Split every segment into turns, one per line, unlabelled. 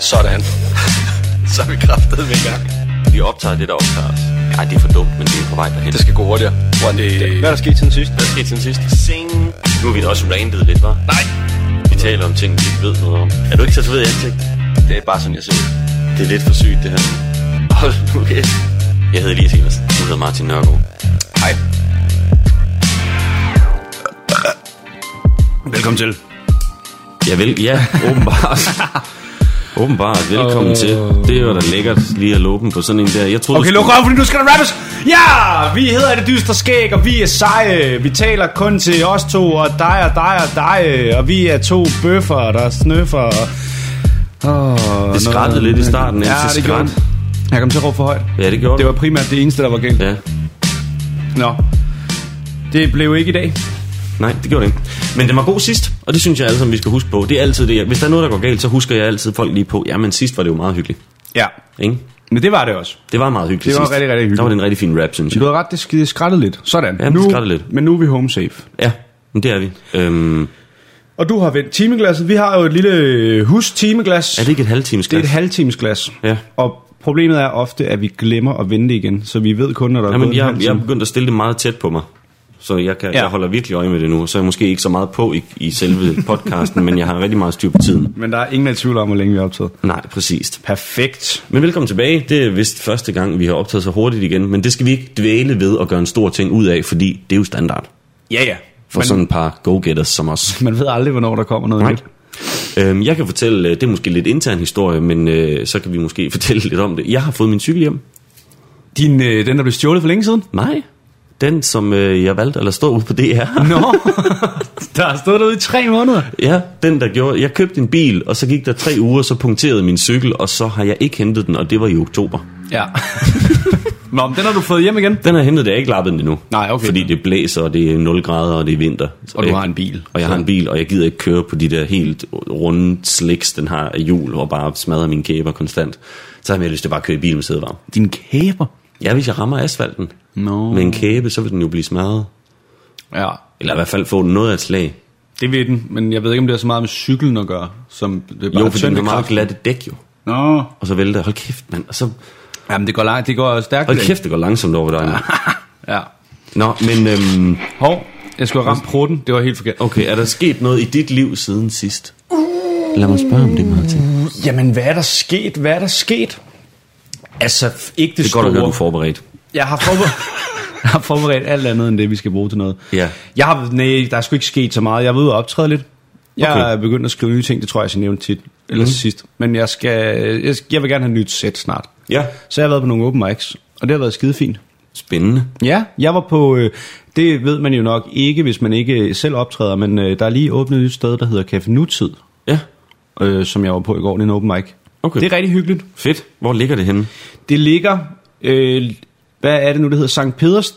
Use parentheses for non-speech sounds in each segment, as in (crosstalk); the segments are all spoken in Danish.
Sådan. (laughs) Så er vi kraftet med i gang.
Vi optager det, der optager os. Ej, det er for dumt, men det er på vej derhen.
Det skal gå hurtigere. Hvor det... Hvad er der sket til den sidste?
Hvad skete til sidst? Sing. Nu er vi også randet lidt, var.
Nej.
Vi taler om ting, vi ikke ved noget om. Er du ikke tatoveret i ansigtet? Det er bare sådan, jeg ser ud. Det er lidt for sygt, det her. Hold nu kæft. Jeg hedder Elias Eversen. Du hedder Martin Nørgaard.
Hej. Velkommen til.
Ja, vel, ja åbenbart. (laughs) åbenbart, velkommen oh. til. Det er jo da lækkert lige at lukke på sådan en der. Jeg troede,
Okay, luk op, fordi nu skal der rappes. Ja, vi hedder Det Dystre Skæg, og vi er seje. Vi taler kun til os to, og dig og dig og dig. Og vi er to bøffer, der snøffer. Og... Oh,
Det skrattede lidt i starten,
Ja,
indtil
det gjorde
skrat.
den. Jeg kom til at råbe for højt.
Ja, det gjorde
Det var primært det eneste, der var galt.
Ja,
Nå. Det blev ikke i dag.
Nej, det gjorde det ikke. Men den var god sidst, og det synes jeg alle sammen, vi skal huske på. Det er altid det, jeg, hvis der er noget, der går galt, så husker jeg altid folk lige på, jamen sidst var det jo meget hyggeligt.
Ja.
Ikke?
Men det var det også.
Det var meget hyggeligt
Det var
sidst.
rigtig, rigtig hyggeligt.
Der var det en rigtig fin rap, synes
Du
jeg.
havde ret, det skide skrattede lidt. Sådan.
Ja, det skrattede lidt.
Men nu er vi home safe.
Ja, men det er vi. Øhm,
Og du har vendt timeglasset. Vi har jo et lille øh, hus timeglas.
er det ikke et halvtimes
Det er et
glas?
halvtimesglas.
Ja.
Og problemet er ofte, at vi glemmer at vente igen, så vi ved kun, når der er
Jamen,
gået en halv
jeg, jeg er
time.
begyndt at stille det meget tæt på mig. Så jeg, kan, ja.
Ja.
jeg holder virkelig øje med det nu, så er jeg måske ikke så meget på i, i selve podcasten, men jeg har rigtig meget styr på tiden.
Men der er ingen der er i tvivl om, hvor længe vi er optaget.
Nej, præcist.
Perfekt.
Men velkommen tilbage. Det er vist første gang, vi har optaget så hurtigt igen, men det skal vi ikke dvæle ved og gøre en stor ting ud af, fordi det er jo standard.
Ja, ja.
for
Man,
sådan et par go-getters som os.
man ved aldrig, hvornår der kommer noget
Nej.
nyt.
Øhm, jeg kan fortælle, øh, det er måske lidt intern historie, men øh, så kan vi måske (laughs) fortælle lidt om det. Jeg har fået min cykel hjem.
Din, øh, den, der blev stjålet for længe siden?
Nej, den som øh, jeg valgte at lade stå ude på
(laughs)
DR.
Nå, der har stået derude i tre måneder.
Ja, den der gjorde, jeg købte en bil, og så gik der tre uger, så punkterede min cykel, og så har jeg ikke hentet den, og det var i oktober.
Ja. (laughs) Nå, men den har du fået hjem igen.
Den har jeg hentet, det er ikke lappet den endnu.
Nej, okay.
Fordi det blæser, og det er 0 grader, og det er vinter.
Og du
jeg,
har en bil.
Og jeg har en bil, og jeg gider ikke køre på de der helt runde sliks, den har af hjul, og bare smadrer mine kæber konstant. Så har jeg mere lyst til bare at køre i bil med sædevarme.
Din kæber.
Ja, hvis jeg rammer asfalten
Nå.
med en kæbe, så vil den jo blive smadret.
Ja,
Eller i hvert fald få noget af et slag.
det ved den, men jeg ved ikke, om det har så meget med cyklen at gøre, som det er bare
Jo, fordi
tyndt
den har
i
meget
kraften.
glatte dæk jo.
Nå,
Og så vælter jeg. Hold kæft, mand. Og så,
jamen det går langt, det går stærkt.
hold kæft, det går langsomt over ved dig. mand.
Ja.
Nå, men øhm,
Hov, jeg skulle have ramt prutten, det var helt forkert.
okay, er der sket noget i dit liv siden sidst? Lad mig spørge om det, Martin.
Jamen, hvad er der sket? Hvad er der sket? Altså, f- ikke det,
Det er
store.
godt at høre, du er forberedt.
jeg, har forberedt, (laughs) jeg har forberedt alt andet, end det, vi skal bruge til noget.
Ja.
Jeg har, nej, der er sgu ikke sket så meget. Jeg er ude og optræde lidt. Jeg
Okay.
er begyndt at skrive nye ting, det tror jeg, jeg nævnte tit, eller mm. sidst. Men jeg, skal, jeg, skal- jeg vil gerne have et nyt sæt snart.
Ja.
Så jeg har været på nogle open mics, og det har været skide fint.
Spændende.
Ja, jeg var på, øh, det ved man jo nok ikke, hvis man ikke selv optræder, men øh, der er lige åbnet et nyt sted, der hedder Café Nutid,
Ja,
øh, som jeg var på i går, det er en open mic.
Okay.
Det er rigtig hyggeligt.
fedt. Hvor ligger det henne?
Det ligger, øh, hvad er det nu, det hedder? Sankt Peders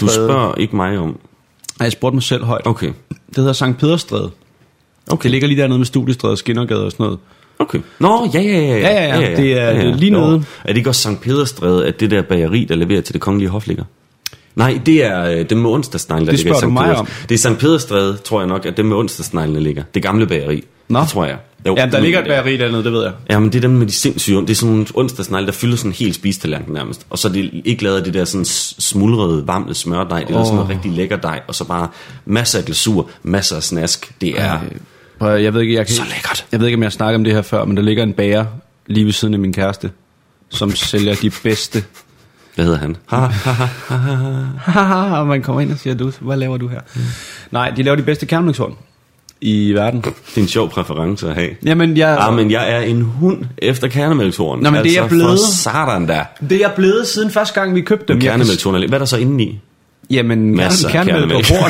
Du spørger ikke mig om.
Nej, jeg spurgte mig selv højt.
Okay.
Det hedder Sankt Pederstræde. Okay. Det ligade lige dernede med Studiestræde og Skinnergade og sådan noget.
Okay. Nå, ja, ja, ja.
Ja, ja, ja. Det er, øh, lige
Jo.
nede.
Er det ikke også Sankt Pederstræde, at det der bageri, der leverer til det kongelige hof, ligger? Nej, det er øh, dem med onsdagsneglene, der
Det
ligger
spørger du
i Sankt
mig
Peders.
om.
Det er Sankt Pederstræde, tror jeg nok, at dem med onsdagsneglene ligger. Det gamle bageri.
Nå.
Det tror jeg. Jo,
Ja, der
men-
ligger et bageri dernede, det ved jeg.
Ja, men det er dem med de sindssyge ond- Det er sådan nogle onsdagsnegle, der fylder sådan en hel spistallerken nærmest. Og så er det ikke lavet af det der sådan s- smuldrede, varmle smørdej. Det er oh. sådan noget rigtig lækker dej. Og så bare masser af glasur, masser af snask. Det er... Ja.
Øh, Og jeg ved ikke, jeg kan,
Så lækkert.
Jeg ved ikke, om jeg har snakket om det her før, men der ligger en bager lige ved siden af min kæreste, som sælger de bedste.
Hvad hedder han? Ha, ha, ha.
Haha, (laughs) og man kommer ind og siger, du, hvad laver du her?
Mm.
Nej, de laver de bedste kærmningshorn i verden.
Det er en sjov præference at have.
Jamen,
(laughs)
jeg...
Ja, Ah, men jeg er en hund efter kernemælkshorn.
Nå, men det er jeg blevet.
For satan der.
Det er jeg blevet siden første gang, vi købte dem.
Kernemælkshorn, er lidt- hvad er der så inde i?
Jamen,
Masser af
kernemælk
kernemælk.
og
(laughs)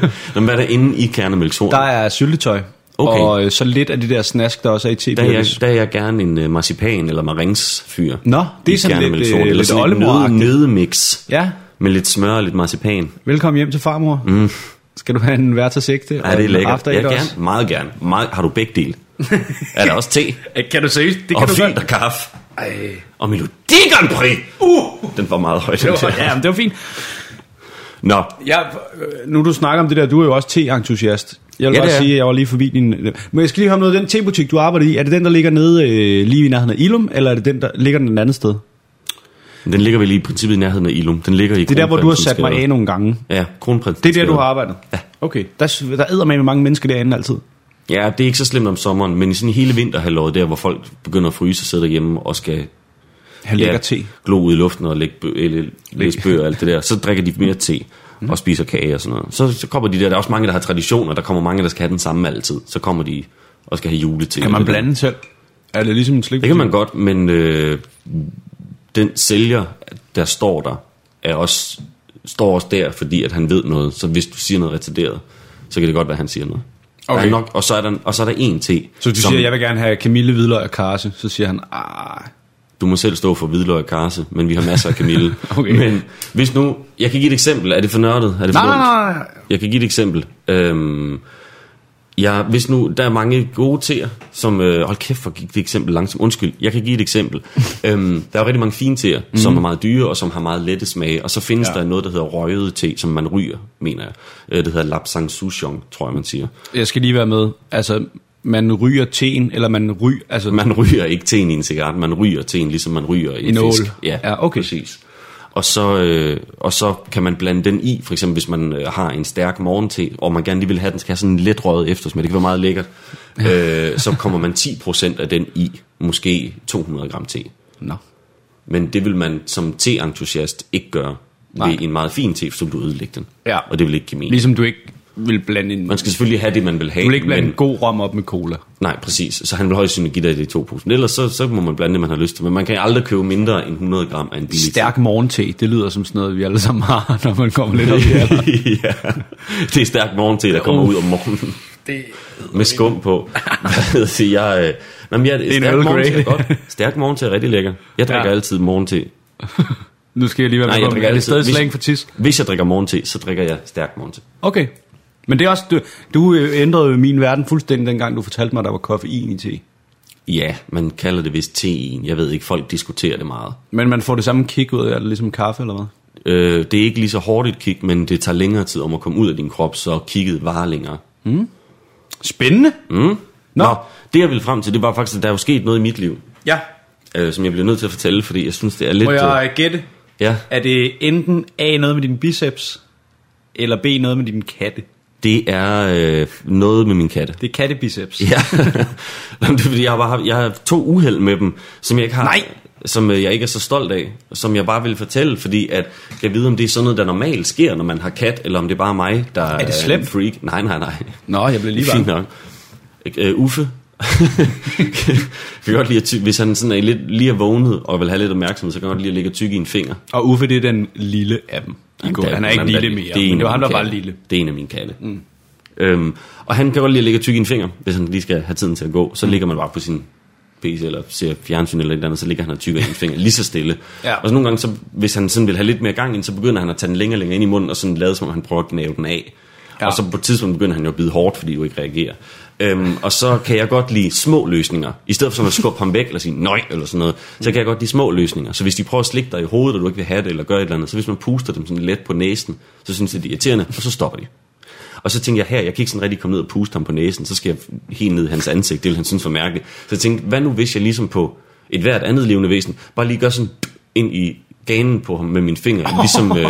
horn.
Nå, men hvad er der inde i kernemælkshorn?
(laughs) Der
Der er,
er syltetøj.
Okay.
Og øh, så lidt af det der snask, der også er i tv.
der, er jeg, der er jeg gerne en uh, marcipan eller marings fyr.
Nå, det er sådan lidt, øh,
Eller
lidt
sådan lidt nøde,
oldemor-agtigt.
nødemix.
Ja,
Med lidt smør og lidt marcipan.
velkommen hjem til farmor. Mm. Skal du have en værtsersigte?
Ja, det er lækkert.
After
Jeg
Eight også?
gerne, meget gerne. Meget, har du begge dele? er der også te?
(laughs) Kan du se? Det kan
og
du godt.
filterkaffe?
Ej.
Og Melodi Grand Prix! Uh! Den var meget højt.
Det var, ja, men det var fint.
Nå,
Ja, øh, nu du snakker om det der, du er jo også te-entusiast. Jeg vil ja,
Ja,
bare
det er.
sige, at jeg var lige forbi din... øh, Men jeg skal lige høre om noget. Den tebutik, du arbejder i, er det den, der ligger nede øh, lige i nærheden af Ilum, eller er det den, der ligger den andet sted? Det
Den ligger vel i princippet i nærheden af Ilum. Den ligger i
er der, hvor du har sat mig
Kronprinsensgade.
af nogle gange.
Ja, kronprins.
Det er der, du har arbejdet? Ja. Okay. Der, der æder med mange mennesker derinde altid.
Ja, det er ikke så slemt om sommeren, men i sådan hele vinterhalvåret, der hvor folk begynder at fryse og sidder derhjemme og skal
Han lægger te.
glo ud i luften og lægge bø- eller, læse bøger og alt det
(laughs)
der, så drikker de mere te
Mm.
og spiser kage og sådan noget. Så, så kommer de der, der er også mange, der har traditioner, der kommer mange, der skal have den samme altid. Så kommer de og skal have julete.
Kan man blande selv? Er det ligesom en slik?
Det kan man godt, men øh, den sælger, der står der, er også, står også der, fordi at han ved noget. Så hvis du siger noget retarderet, så kan det godt være, at han siger noget.
Okay.
Der er nok, og, så er der, og så er der en te.
Så du
som-
siger, jeg vil gerne have Camille Hvidløg og Karse. Så siger han, ah,
Du må selv stå for hvidløg og karse, men vi har masser af kamille.
(laughs) Okay.
Men hvis nu... Jeg kan give et eksempel. Er det for nørdet? Er det for
nej, nej,
dumt?
nej, nej.
Jeg kan give et eksempel. Øhm, jeg, hvis nu, der er mange gode teer, som... Øh, hold kæft, hvor gik det eksempel langsomt. Undskyld, jeg kan give et
(laughs)
eksempel. øhm, der er jo rigtig mange fine teer, mm.
Mhm.
som er meget dyre og som har meget lette smage. Og så findes ja. der noget, der hedder røget te, som man ryger, mener jeg. Øh, det hedder Lapsang Souchong, tror jeg, man siger.
Jeg skal lige være med. Altså, man ryger teen, eller man ryger... Altså,
Man ryger ikke teen i en cigaret, man ryger teen, ligesom man ryger i en,
En ål.
fisk.
Ja, okay.
Præcis. Og så, øh, og så kan man blande den i, for eksempel hvis man øh, har en stærk morgente, og man gerne lige vil have, at den skal have sådan en let røget eftersmag, det kan være meget lækkert, øh, så kommer man 10% af den i, måske 200 gram te.
Nå.
Men det vil man som te-entusiast ikke gøre Nej.
Nej.
ved en meget fin te, så vil du ødelægge den.
Ja.
Og det vil ikke give mening.
Ligesom du ikke vil blande en...
Man skal selvfølgelig have det, man vil have.
Du vil ikke blande
men-
en god rom op med cola.
Nej, præcis. Så han vil højst sandsynligt give dig det i to poser. Men Ellers så, så må man blande det, man har lyst til. Men man kan aldrig købe mindre end 100 gram af en billig
Stærk morgente, det lyder som sådan noget, vi alle sammen har, (laughs) når man kommer lidt op i alderen.
(laughs) ja. Det er stærk morgente, der kommer ud om morgenen. Det med skum på. Hvad hedder det? jeg, øh, nå, men jeg, det
en
stærk
Earl
morgente
Grey.
er godt. Stærk morgente er rigtig lækker. Jeg drikker
Ja.
ja. altid morgente.
Nu skal jeg lige være
Nej,
med.
jeg
på, om
drikker
det er
altid-
stadig
hvis-
slang for tis.
Hvis jeg drikker morgente, så drikker jeg stærk morgente.
Okay. Men det er også, du, du øh, ændrede jo min verden fuldstændig, dengang du fortalte mig, der var koffein i te.
Ja, man kalder det vist teen. Jeg ved ikke, folk diskuterer det meget.
Men man får det samme kick ud af det, ligesom kaffe eller hvad?
Øh, det er ikke lige så hårdt et kick, men det tager længere tid om at komme ud af din krop, så kigget varer længere. Mm?
Spændende.
Nå. Nå, det jeg ville frem til, det var faktisk, at der er jo sket noget i mit liv,
Ja.
øh, som jeg bliver nødt til at fortælle, fordi jeg synes, det er lidt...
Må
øh,
jeg gætte?
ja,
Er det enten A noget med dine biceps, eller B noget med dine katte?
det er øh, noget med min katte.
Det er kattebiceps.
Ja, (laughs) Jamen, det er fordi, jeg har, bare, haft- jeg har haft to uheld med dem, som jeg ikke har...
Nej.
Som øh, jeg ikke er så stolt af, og som jeg bare vil fortælle, fordi at jeg vide, om det er sådan noget, der normalt sker, når man har kat, eller om det er bare mig, der er,
det
en
slemt?
freak. Nej, nej, nej.
Nå, jeg blev lige
Fint
varm.
nok. Øh,
(laughs)
Uffe. vi kan godt lide at ty- hvis han sådan er lidt, lige er vågnet og vil have lidt opmærksomhed, så kan han godt lige at ligge og tykke i en finger.
Og Uffe, det er den lille af dem. I går.
Der-
Han er ikke
der-
lille mere, det
en
men
af
det var ham,
mine
der var
katte.
lille.
Det er en af mine katte. Mm. Øhm, og han kan godt lide at ligge og tykke i en finger, hvis han lige skal have tiden til at gå. Så mm. ligger man bare på sin PC eller ser fjernsyn eller et eller andet, så ligger han og tykker i en finger lige så stille.
Ja.
Og så nogle gange, så, hvis han sådan vil have lidt mere gang ind, så begynder han at tage den længere og længere ind i munden, og sådan lade som om han prøver at gnave den af. Ja. Og så på et tidspunkt begynder han jo at bide hårdt, fordi du ikke reagerer. Øhm, og så kan jeg godt lide små løsninger. I stedet for sådan at skubbe ham væk eller sige nej eller sådan noget, så kan jeg godt lide små løsninger. Så hvis de prøver at slikke dig i hovedet, og du ikke vil have det eller gøre et eller andet, så hvis man puster dem sådan let på næsen, så synes jeg, det er irriterende, og så stopper de. Og så tænkte jeg her, jeg kan ikke sådan rigtig komme ned og puste ham på næsen, så skal jeg helt ned i hans ansigt, det vil han synes var mærkeligt. Så jeg tænkte, hvad nu hvis jeg ligesom på et hvert andet levende væsen, bare lige gør sådan ind i ganen på ham med min
(laughs)
finger, ligesom, øh,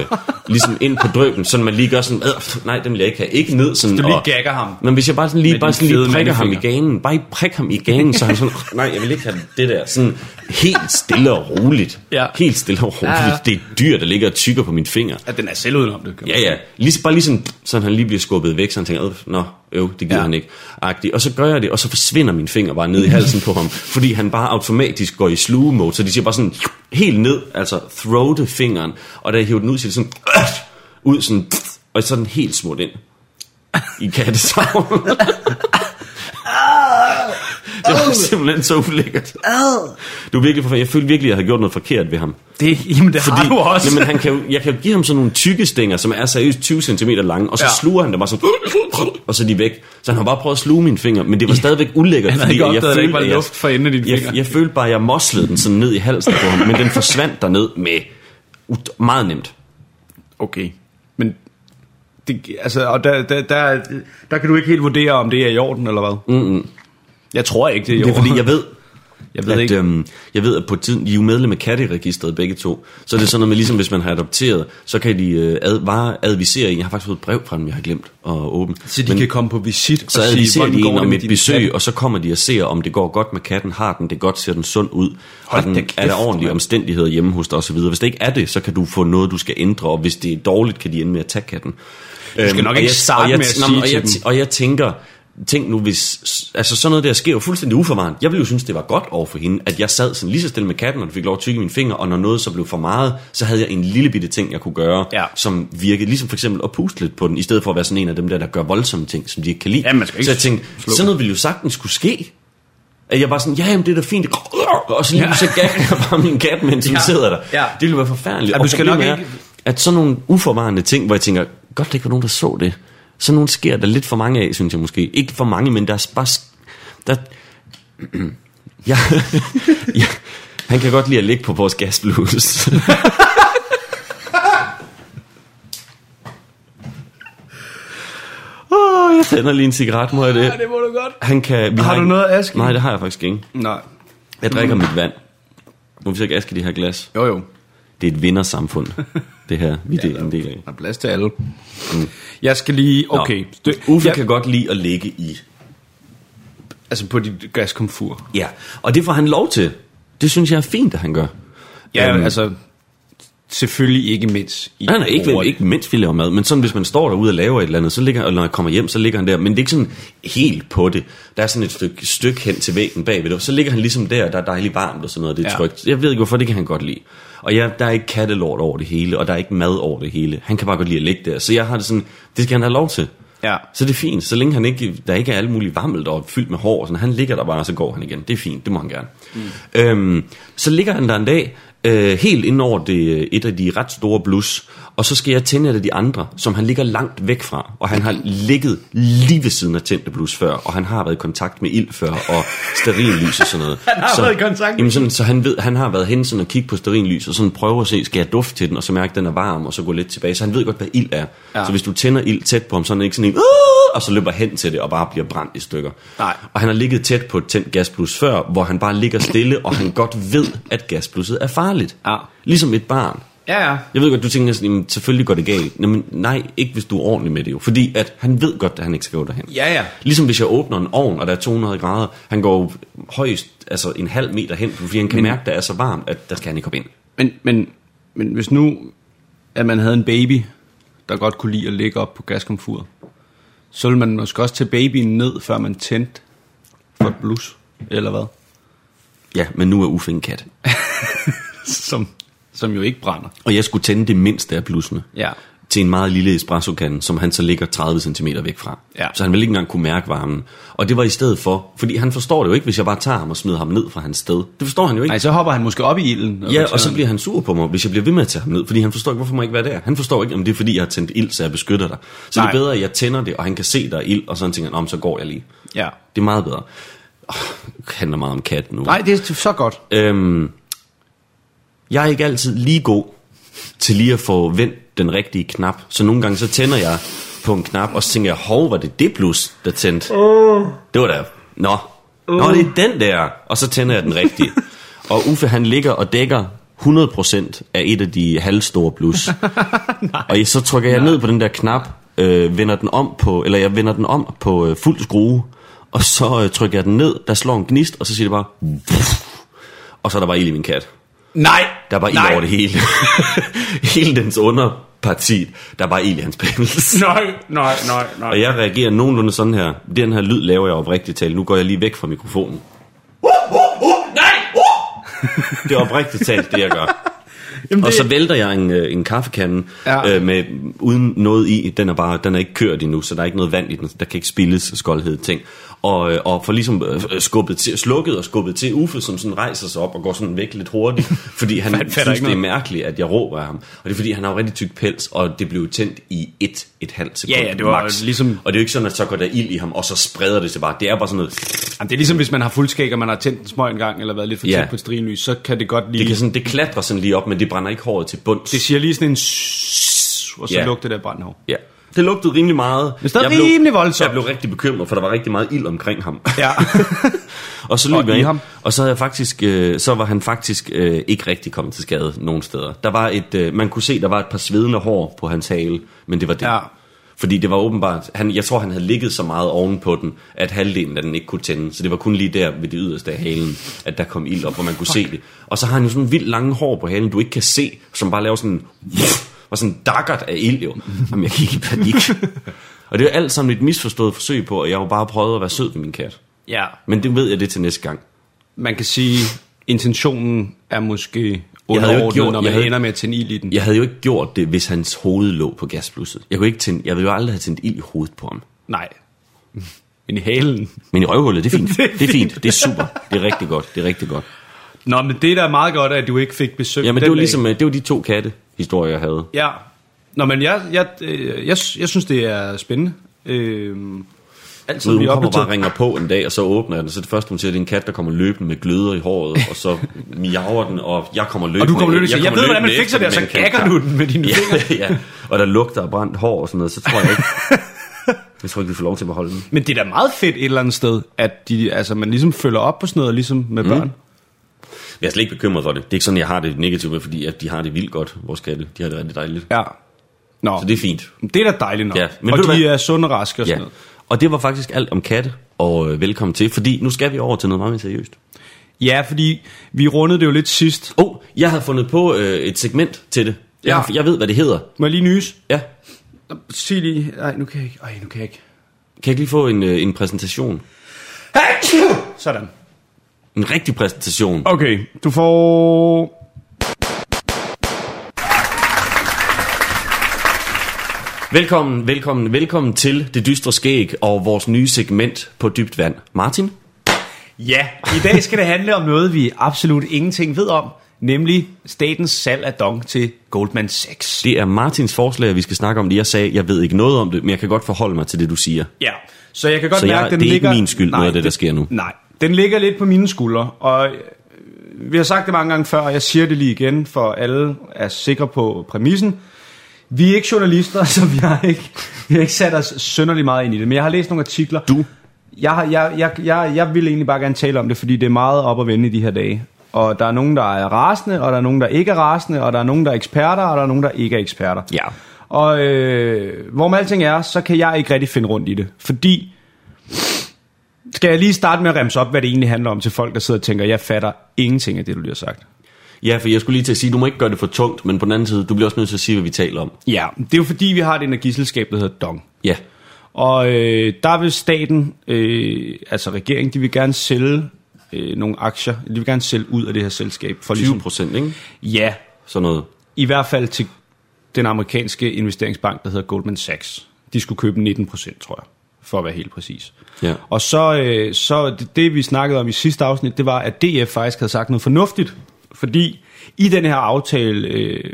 ligesom ind på drøben, sådan man lige gør sådan, "Ad, nej, den vil jeg ikke have, ikke ned sådan.
Du lige
og-
gagger ham.
men hvis jeg bare sådan lige,
Med
bare
din
sådan lige
fede
prikker ham i
mandefinger.
ganen, bare lige prik ham i ganen, så er han sådan, nej, jeg vil ikke have det der. Sådan helt stille og roligt.
Ja.
Helt stille og roligt.
Ja,
Ja,
ja.
ja. Det er et dyr, der ligger og tykker på mine fingre.
At den er selv udenom det. kan man
Ja, ja. Lige, bare lige sådan, sådan han lige bliver skubbet væk, så han tænker, "Øh, nå, øv, det gider
Ja.
ja. han ikke. Agtig. Og så gør jeg det, og så forsvinder min finger bare ned i halsen på ham, (laughs) fordi han bare automatisk går i sluge mode, så de siger bare sådan, helt ned, altså throate fingeren, og da jeg hiver den ud, siger det sådan, "Øh!" ud sådan, og sådan helt smurt ind i kattesavn. det
(laughs)
var simpelthen så ulækkert.
Øh.
Du er virkelig for, jeg følte virkelig, at jeg havde gjort noget forkert ved ham.
Det, (laughs) jamen, det
Fordi,
har du også.
Jamen, han kan jo, jeg kan jo give ham sådan nogle tykke stænger, som er seriøst 20 cm lange, og så
Ja.
ja. sluger han dem bare sådan, (clears throat) og så er de væk. Så han har bare prøvet at sluge mine fingre, men det var stadigvæk ulækkert,
havde
fordi
ikke
jeg
opdaget, at
følte,
der ikke var
at jeg-
luft for enden af dine
jeg,
fingre.
Jeg følte bare, at jeg moslede den sådan ned i halsen på ham, men den forsvandt derned med ut- meget nemt.
Okay. Men det, altså, og der, der, der, der kan du ikke helt vurdere, om det er i orden eller hvad. Mm-hmm. Jeg tror ikke, det er i
Det
orden.
er fordi, jeg ved,
jeg
ved
ved
at,
ikke.
ikke. Øhm, jeg ved, at på tiden, de er jo medlem af katteregisteret begge to, så er det sådan noget med, ligesom hvis man har adopteret, så kan de øh, ad, bare advisere en. Jeg har faktisk fået et brev fra dem, jeg har glemt at åbne.
Så de kan komme på visit
så
og sige,
adviserer
hvordan
de
går
en
det
om
med
et
din
besøg,
kat?
og så kommer de og ser, om det går godt med katten, har den det godt, ser den sund ud, har
Hold
den,
da
er der
kæft,
ordentlige
mand.
omstændigheder hjemme hos dig osv. Hvis det ikke er det, så kan du få noget, du skal ændre, og hvis det er dårligt, kan de ende med at tage katten. Øhm, Du
nok ikke starte med at sige
og
til
jeg,
dem.
t- og jeg tænker, tænk nu, hvis altså sådan noget der sker jo fuldstændig uforvarende. Jeg ville jo synes, det var godt over for hende, at jeg sad sådan lige så stille med katten, og den fik lov at tykke i mine fingre, og når noget så blev for meget, så havde jeg en lille bitte ting, jeg kunne gøre,
Ja.
som virkede, ligesom for eksempel at puste lidt på den, i stedet for at være sådan en af dem der, der gør voldsomme ting, som de ikke kan lide.
Ja, man skal ikke
så jeg tænkte,
slå.
sådan noget ville jo sagtens kunne ske. At jeg var sådan, ja, jamen, det er da fint. Og så lige ja. så gav jeg bare min kat, mens hun
Ja.
sidder der.
Ja.
Det ville være forfærdeligt.
Ja,
Og
du skal nok
problemet
ikke-
at sådan nogle uforvarende ting, hvor jeg tænker, godt der ikke var nogen, der så det. Sådan nogle sker der lidt for mange af, synes jeg måske. Ikke for mange, men der er bare... sk- Der... ja. (laughs) ja. Han kan godt lide at ligge på vores gasblus. (laughs) Åh, jeg tænder lige en cigaret, må jeg det?
Ja, det må du godt.
Han kan, vi
Har du
ikke-
noget aske?
Nej, det har jeg faktisk ikke.
Nej.
Jeg drikker mit vand. Må vi så ikke aske i de her glas?
Jo, jo.
Det er et
(laughs)
vindersamfund, det her, vi det er en del af.
Der er plads til alle. Jeg skal lige... Okay.
Nå.
Det-
Uffe
jeg,
kan godt lide at ligge i.
Altså på dit gaskomfur.
Ja, og det får han lov til. Det synes jeg er fint, at han gør.
Ja,
Øhm,
altså... Selvfølgelig ikke mindst. I
Nej, nej, ikke,
ordet.
ikke mens vi laver mad, men sådan, hvis man står derude og laver et eller andet, så ligger, og når jeg kommer hjem, så ligger han der. Men det er ikke sådan helt på det. Der er sådan et stykke, stykke hen til væggen bagved, og så ligger han ligesom der, og der er dejligt varmt og sådan noget, det er ja.
Ja.
trygt. Jeg ved ikke, hvorfor det kan han godt lide. Og jeg, der er ikke kattelort over det hele, og der er ikke mad over det hele. Han kan bare godt lide at ligge der. Så jeg har det sådan, det skal han have lov til.
Ja.
Så det er fint, så længe han ikke, der ikke er alle mulige vammelt og fyldt med hår, og sådan, han ligger der bare, og så går han igen. Det er fint, det må han gerne. Mm. Øhm, så ligger han der en dag, øh, helt ind over det, øh, et af de ret store blus, og så skal jeg tænde et af de andre, som han ligger langt væk fra, og han har ligget lige ved siden af tændte blus før, og han har været i kontakt med ild før, og stearinlys og sådan noget.
(laughs) Han har
så,
været i kontakt med
Jamen sådan, så han ved, han har været hen sådan og kigge på stearinlys, og sådan prøve at se, skal jeg dufte til den, og så mærke, at den er varm, og så gå lidt tilbage. Så han ved godt, hvad ild er. Ja.
Ja.
Så hvis du tænder ild tæt på ham, så er han ikke sådan en, "Åh!" og så løber han hen til det, og bare bliver brændt i stykker.
Nej.
Og han har ligget tæt på et tændt gasplus før, hvor han bare ligger stille, og han godt ved, at gaspluset er farligt.
Ja.
Ligesom et barn.
Ja, ja.
Jeg ved godt, du tænker sådan, "Jamen, selvfølgelig går det galt. Nå, men nej, ikke hvis du er ordentlig med det jo. Fordi at han ved godt, at han ikke skal gå derhen.
Ja, ja.
Ligesom hvis jeg åbner en ovn, og der er 200 grader, han går jo højst altså en halv meter hen, fordi han kan men, mærke, at det er så varmt, at der skal han ikke hoppe ind.
Men, men, men hvis nu, at man havde en baby, der godt kunne lide at ligge op på gaskomfuret, så ville man måske også tage babyen ned, før man tændte for et blus, eller hvad?
Ja, men nu er Uffe en kat.
Som, som jo ikke brænder.
Og jeg skulle tænde det mindste af blusene.
Ja.
Til en meget lille espressokande, som han så ligger 30 cm væk fra.
Ja.
Så han ville ikke engang kunne mærke varmen. Og det var i stedet for, fordi han forstår det jo ikke, hvis jeg bare tager ham og smider ham ned fra hans sted. Det forstår han jo ikke.
Nej, så hopper han måske op i ilden.
Ja, og så bliver han sur på mig, hvis jeg bliver ved med at tage ham ned, fordi han forstår ikke, hvorfor må jeg ikke være der. Han forstår ikke, om det er, fordi jeg har tændt ild, så jeg beskytter dig. Så Nej.
Nej.
det er bedre, at jeg tænder det, og han kan se, der er ild, og sådan tænker han, om så går jeg lige.
Ja.
Det er meget bedre. Oh, handler meget om kat nu.
Nej, det er så godt.
Øhm, jeg er ikke altid lige god til lige at få vendt den rigtige knap. Så nogle gange så tænder jeg på en knap, og så tænker jeg, hov, var det det plus, der tændte? Oh. Det var da, nå. Nå, det er den der. Og så tænder jeg den rigtige. og Uffe, han ligger og dækker 100% af et af de halvstore plus. og jeg- så trykker jeg ned på den der knap, øh, vender den om på, eller jeg vender den om på øh, fuld skrue, og så øh, trykker jeg den ned, der slår en gnist, og så siger det bare, og så er der bare ild i min kat.
Nej!
Der var ild
Nej.
over det hele. (laughs) hele dens underparti, der var ild i hans penis. (laughs)
Nej, nej, nej, nej.
Og jeg reagerer nogenlunde sådan her. Den her lyd laver jeg oprigtigt talt. Nu går jeg lige væk fra mikrofonen. Det er oprigtigt talt, det jeg gør. Jamen, og så vælter jeg en, øh, en kaffekande ja.
Ja.
øh, med, uden noget i. Den er, bare, den er ikke kørt endnu, så der er ikke noget vand i den. Der kan ikke spildes skoldhed ting. Og, øh, og får ligesom øh, øh, skubbet til, slukket og skubbet til Uffe, som sådan rejser sig op og går sådan væk lidt
(laughs)
hurtigt. Fordi han
Fat- fatter
synes,
ikke
det er
noget.
mærkeligt, at jeg råber af ham. Og det er fordi, han har jo rigtig tyk pels, og det blev tændt i et, et halvt sekund.
Ja, ja, det var
max.
ligesom-
Og det er jo ikke sådan, at så går der ild i ham, og så spreder det sig bare. Det er bare sådan noget...
Jamen, det er ligesom, hvis man har fuldskæg, og man har tændt en smøg en gang, eller været lidt for
Ja.
tæt på et strinlys, så kan det godt lige...
Det, kan sådan, det klatrer sådan lige op, men det brænder ikke håret til bunds.
det siger lige sådan en... s- Og så
Ja.
lugter det af brændhår.
Ja. Det lugtede rimelig meget.
Men stadig rimelig voldsomt.
Jeg blev rigtig bekymret, for der var rigtig meget ild omkring ham.
(laughs)
(laughs)
Ja.
og så
Og
løb
i
jeg ind,
ham.
og så, havde jeg faktisk, øh, så var han faktisk øh, ikke rigtig kommet til skade nogen steder. Der var et, øh, man kunne se, der var et par svedende hår på hans hale, men det var det.
Ja.
Fordi det var åbenbart, han, jeg tror han havde ligget så meget ovenpå den, at halvdelen af den ikke kunne tænde. Så det var kun lige der ved det yderste af halen, at der kom ild op, hvor man kunne se det. Og så har han jo sådan vildt lange hår på halen, du ikke kan se, som bare laver sådan... Og sådan en dakkert af ild jo. Jamen jeg gik i
(laughs)
panik. og det er alt sammen et misforstået forsøg på, at jeg jo bare prøvede at være sød ved min kat.
ja.
Men det ved jeg det er til næste gang.
Man kan sige, intentionen er måske
jo ikke gjort-
underordnet, når
jeg
man
havde-
ender med at tænde ild i den.
Jeg havde jo ikke gjort det, hvis hans hoved lå på gasblusset. Jeg, kunne ikke tænde, jeg ville jo aldrig have tændt ild i hovedet på ham.
Nej. Men i halen.
Men i røvhullet, det
(laughs)
er fint. Det er fint. Det er super. Det er rigtig godt. Det er rigtig godt.
Nå, men det er da meget godt, at du ikke fik besøg
Ja, men
den
det var
dag.
ligesom øh, det var de to katte historier jeg havde.
Ja. Nå, men jeg, jeg, øh, jeg, jeg synes, det er spændende. Øh, altid
Så hun
vi
kommer bare og
opdaterer.
ringer på en dag, og så åbner jeg den, og så er det første, hun siger, det er en kat, der kommer løbende med gløder i håret, og så miaver den, og jeg kommer løbende.
Og du kommer løbende og siger, jeg ved, hvordan man
løbende
fikser det, og
efter
så
med en
gakker du den med dine ja. fingre.
(laughs) Ja, ja, og der lugter af brændt hår og sådan noget, så tror jeg ikke,
(laughs)
jeg tror ikke, vi får lov til at beholde den.
Men det er da meget fedt et eller andet sted, at de, altså, man ligesom følger op på sådan noget, ligesom med
Mhm.
børn.
Jeg er slet ikke bekymret for det. Det er ikke sådan, jeg har det negativt med, fordi at de har det vildt godt, vores katte. De har det rigtig dejligt.
Ja. Nå,
Så det er fint.
det er da dejligt nok.
Ja, men
og
ved du
de
hvad?
er sunde og raske og sådan ja.
Ja.
noget.
Og det var faktisk alt om katte, og øh, velkommen til, fordi nu skal vi over til noget meget mere seriøst.
Ja, fordi vi rundede det jo lidt sidst.
Oh, jeg havde fundet på øh, et segment til det. Jeg,
Ja.
har- jeg ved, hvad det hedder.
Må jeg lige nys?
Ja.
Nå, Sig lige. Ej, nu kan jeg ikke. Ej, nu kan jeg ikke.
Kan jeg ikke lige få en, øh, en præsentation?
Sådan.
En rigtig præsentation.
Okay, du får...
Velkommen, velkommen, velkommen til Det Dystre Skæg og vores nye segment på dybt vand. Martin?
Ja, i dag skal det handle om noget, vi absolut ingenting ved om, nemlig statens salg af dong til Goldman Sachs.
Det er Martins forslag, og vi skal snakke om det. Jeg sagde, jeg ved ikke noget om det, men jeg kan godt forholde mig til det, du siger.
Ja.
Så jeg kan godt
Så jeg-
mærke, at den
det er ikke
ligger...
min skyld, noget af det, der sker nu.
Nej, den ligger lidt på mine skuldre, og øh, vi har sagt det mange gange før, og jeg siger det lige igen, for alle er sikre på præmissen. Vi er ikke journalister, (laughs) så vi har ikke, vi har ikke sat os sønderlig meget ind i det, men jeg har læst nogle artikler.
Du?
Jeg, har- jeg, jeg, jeg, jeg vil egentlig bare gerne tale om det, fordi det er meget op at vende i de her dage. Og der er nogen, der er rasende, og der er nogen, der ikke er rasende, og der er nogen, der er eksperter, og der er nogen, der ikke er eksperter.
Ja.
Og øh, hvorom alting er, så kan jeg ikke rigtig finde rundt i det. Fordi, skal jeg lige starte med at remse op, hvad det egentlig handler om til folk, der sidder og tænker, jeg fatter ingenting af det, du lige har sagt.
Ja, for jeg skulle lige til at sige, du må ikke gøre det for tungt, men på den anden side, du bliver også nødt til at sige, hvad vi taler om.
Ja, det er jo fordi, vi har et energiselskab, der hedder Dong.
Ja.
Og øh, der vil staten, øh, altså regeringen, de vil gerne sælge øh, nogle aktier. De vil gerne sælge ud af det her selskab. For
20 procent, ikke?
Ja,
Sådan noget.
i hvert fald til den amerikanske investeringsbank, der hedder Goldman Sachs. De skulle købe 19 procent, tror jeg, for at være helt præcis.
Ja.
Og så, øh, så det, det, vi snakkede om i sidste afsnit, det var, at DF faktisk havde sagt noget fornuftigt, fordi i den her aftale øh,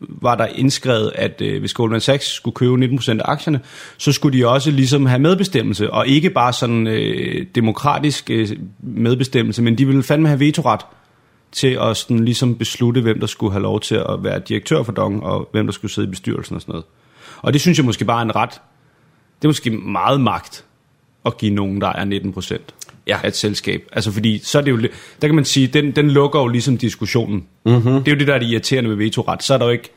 var der indskrevet, at øh, hvis Goldman Sachs skulle købe 19% af aktierne, så skulle de også ligesom have medbestemmelse, og ikke bare sådan øh, demokratisk øh, medbestemmelse, men de ville fandme have vetoret til at sådan ligesom beslutte, hvem der skulle have lov til at være direktør for Dong, og hvem der skulle sidde i bestyrelsen og sådan noget. Og det synes jeg måske bare er en ret, det er måske meget magt at give nogen, der er 19 procent
Ja.
af et selskab. Altså fordi, så er det jo, lidt- der kan man sige, den, den lukker jo ligesom diskussionen. Mm-hmm. Det er jo det, der er det irriterende ved vetoret. Så er der jo ikke,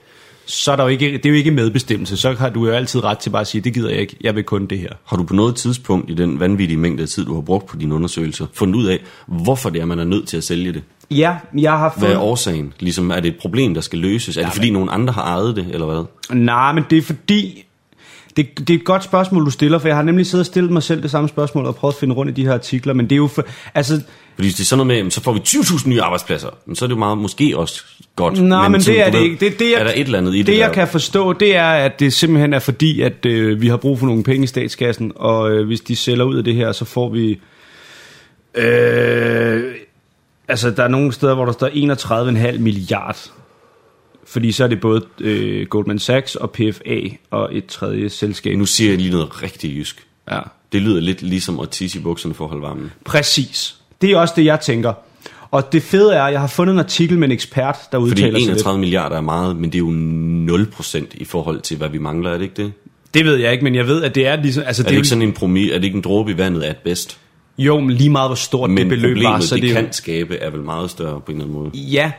så er der jo ikke, det er jo ikke medbestemmelse. Så har du jo altid ret til bare at sige, det gider jeg ikke, jeg vil kun det her.
Har du på noget tidspunkt i den vanvittige mængde af tid, du har brugt på dine undersøgelser, fundet ud af, hvorfor det er, man er nødt til at sælge det?
Ja, jeg har
Hvad er årsagen? Ligesom, er det et problem, der skal løses? Er det fordi, nogen andre har ejet det, eller hvad?
Nej, men det er fordi... Det, det er et godt spørgsmål, du stiller, for jeg har nemlig siddet og stillet mig selv det samme spørgsmål og prøvet at finde rundt i de her artikler, men det er jo for, altså,
Fordi hvis det er sådan noget med, jamen, så får vi 20.000 nye arbejdspladser, men så er det jo meget, måske også godt.
Nej, men, men
sådan,
det er
du
det
ved,
ikke. Det, det, jeg,
er der et eller andet i det,
det jeg
der-
kan forstå, det er, at det simpelthen er fordi, at øh, vi har brug for nogle penge i statskassen, og øh, hvis de sælger ud af det her, så får vi... Øh, altså, der er nogle steder, hvor der står 31,5 milliard. Fordi så er det både øh, Goldman Sachs og PFA og et tredje selskab.
Nu siger jeg lige noget rigtig jysk.
Ja.
Det lyder lidt ligesom at tisse i bukserne for at holde varmen.
Præcis. Det er også det, jeg tænker. Og det fede er, at jeg har fundet en artikel med en ekspert, der udtaler
Fordi
sig lidt.
31 milliarder er meget, men det er jo 0% i forhold til, hvad vi mangler, er det ikke det?
Det ved jeg ikke, men jeg ved, at det er ligesom... Altså,
Er det ikke sådan en promi, er det ikke en dråbe i vandet at bedst?
Jo, men lige meget hvor stort
Men
det beløb
problemet,
var, så
det,
det er jo-
kan skabe, er vel meget større på en eller anden måde.
Ja,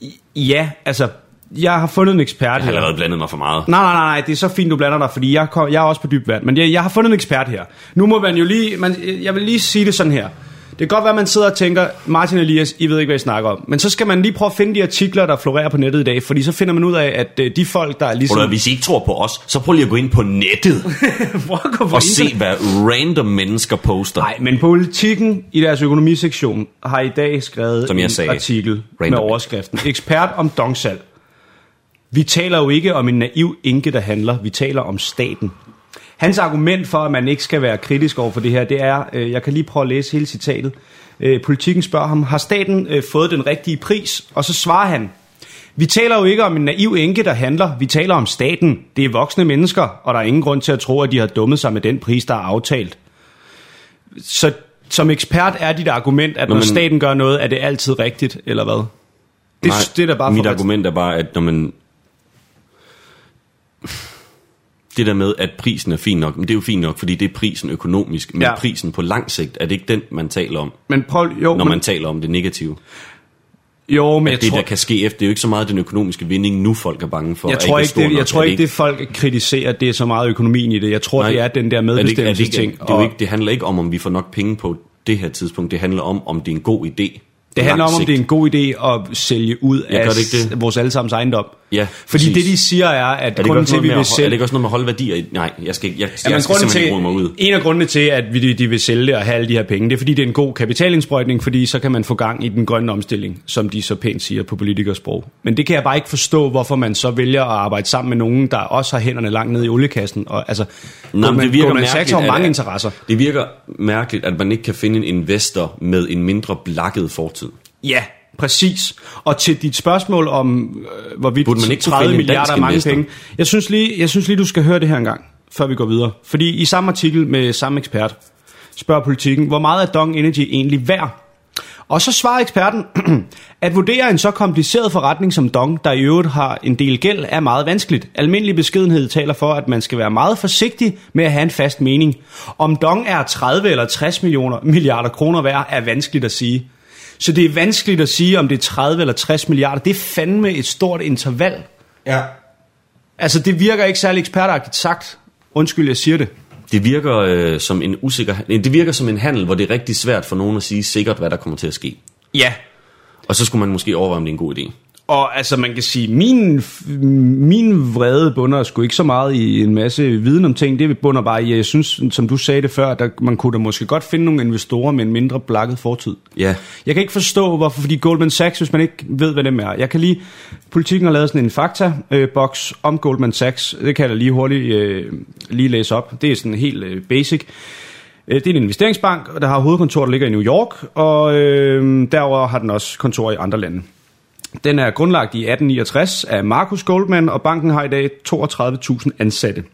I- ja, altså, jeg har fundet en ekspert
Jeg har
her.
allerede blandet mig for meget.
Nej, nej, nej, nej, det er så fint, du blander dig, fordi jeg, kom, jeg er også på dyb vand. Men jeg, jeg har fundet en ekspert her. Nu må man jo lige... Man, jeg vil lige sige det sådan her. Det kan godt være, at man sidder og tænker, Martin og Elias, I ved ikke, hvad I snakker om. Men så skal man lige prøve at finde de artikler, der florerer på nettet i dag, fordi så finder man ud af, at øh, de folk, der er
Prøv
ligesom...
at, høre, hvis I ikke tror på os, så prøv lige at gå ind på nettet
(laughs) Prøv at gå på
og se,
internet.
hvad random mennesker poster.
Nej, men politikken i deres økonomisektion har i dag skrevet
Som jeg
en
sagde,
artikel med
random.
overskriften Ekspert om dongsalg. Vi taler jo ikke om en naiv enke, der handler. Vi taler om staten. Hans argument for, at man ikke skal være kritisk over for det her, det er, øh, jeg kan lige prøve at læse hele citatet. Øh, politikken spørger ham, har staten øh, fået den rigtige pris? Og så svarer han, vi taler jo ikke om en naiv enke, der handler. Vi taler om staten. Det er voksne mennesker, og der er ingen grund til at tro, at de har dummet sig med den pris, der er aftalt. Så som ekspert er dit argument, at når
men-
staten gør noget, er det altid rigtigt, eller hvad? Det,
Nej,
det er da bare
mit
for-
argument er bare, at når man... Det der med, at prisen er fin nok, men det er jo fint nok, fordi det er prisen økonomisk, men
Ja.
ja. prisen på lang sigt, er det ikke den, man taler om,
Men prøv, jo,
når
men-
man taler om det negative?
Jo, men jeg
At det,
tror,
der kan ske efter, det er jo ikke så meget den økonomiske vinding, nu folk er bange for.
jeg
er
tror
er
ikke,
stor
det,
nok.
jeg tror
Er
ikke, det folk kritiserer, det er så meget økonomien i det. Jeg tror,
Nej.
det er den der
Er det ikke- er det
medbestemmelse
ikke-
ting.
Det, er jo ikke, det handler ikke om, om vi får nok penge på det her tidspunkt. Det handler om, om det er en god idé.
det handler om, om det er
en...
en god idé at sælge ud
Ja,
af
gør det ikke det?
vores allesammens ejendom.
Ja,
Fordi
præcis.
det, de siger, er, at
Er det, ikke
grunden
også
til, at
noget
vi vil
med at, er det
sælge...
ikke også noget med at holde værdier i? Nej, jeg skal, ikke- jeg, jeg,
Jamen,
jeg skal
grunden
simpelthen ikke
til,
rode mig ud.
en af grundene til, at vi, de vil sælge det og have alle de her penge, det er, fordi det er en god kapitalindsprøjtning, fordi så kan man få gang i den grønne omstilling, som de så pænt siger på politikersprog. Men det kan jeg bare ikke forstå, hvorfor man så vælger at arbejde sammen med nogen, der også har hænderne langt ned i oliekassen. Og, altså,
Nå, men
Goldman-
det virker
Goldman Sachs
mærkeligt,
har jo
at-
mange interesser.
Det virker mærkeligt, at man ikke kan finde en investor med en mindre blakket fortid.
Ja, præcis. Og til dit spørgsmål om, øh, hvorvidt
Burde man ikke kunne finde
30
en
milliarder
dansk
er mange
investor?
penge. Jeg synes, lige, jeg synes lige, du skal høre det her engang, før vi går videre. Fordi i samme artikel med samme ekspert spørger politikken, hvor meget er Dong Energy egentlig værd? Og så svarer eksperten, (clears throat) at vurdere en så kompliceret forretning som Dong, der i øvrigt har en del gæld, er meget vanskeligt. Almindelig beskedenhed taler for, at man skal være meget forsigtig med at have en fast mening. Om Dong er 30 eller 60 millioner milliarder kroner værd, er vanskeligt at sige. Så det er vanskeligt at sige, om det er 30 eller 60 milliarder. Det er fandme et stort interval.
Ja.
Altså, det virker ikke særlig ekspertagtigt sagt. Undskyld, jeg siger det.
Det virker øh, som en usikker... nej, Det virker som en handel, hvor det er rigtig svært for nogen at sige sikkert, hvad der kommer til at ske.
Ja.
Og så skulle man måske overveje, om det er en god idé.
Og altså, man kan sige, min, min vrede bunder sgu ikke så meget i en masse viden om ting. Det bunder bare i, at jeg synes, som du sagde det før, at der, man kunne da måske godt finde nogle investorer med en mindre blakket fortid.
Ja.
Jeg kan ikke forstå, hvorfor, fordi Goldman Sachs, hvis man ikke ved, hvad dem er. Jeg kan lige, politikken har lavet sådan en fakta-boks øh, om Goldman Sachs. Det kan jeg da lige hurtigt øh, lige læse op. Det er sådan helt øh, basic. Øh, Det er en investeringsbank, der har hovedkontor, der ligger i New York, og øh, derover har den også kontor i andre lande. Den er grundlagt i 1869 af Marcus Goldman, og banken har i dag 32.000 ansatte.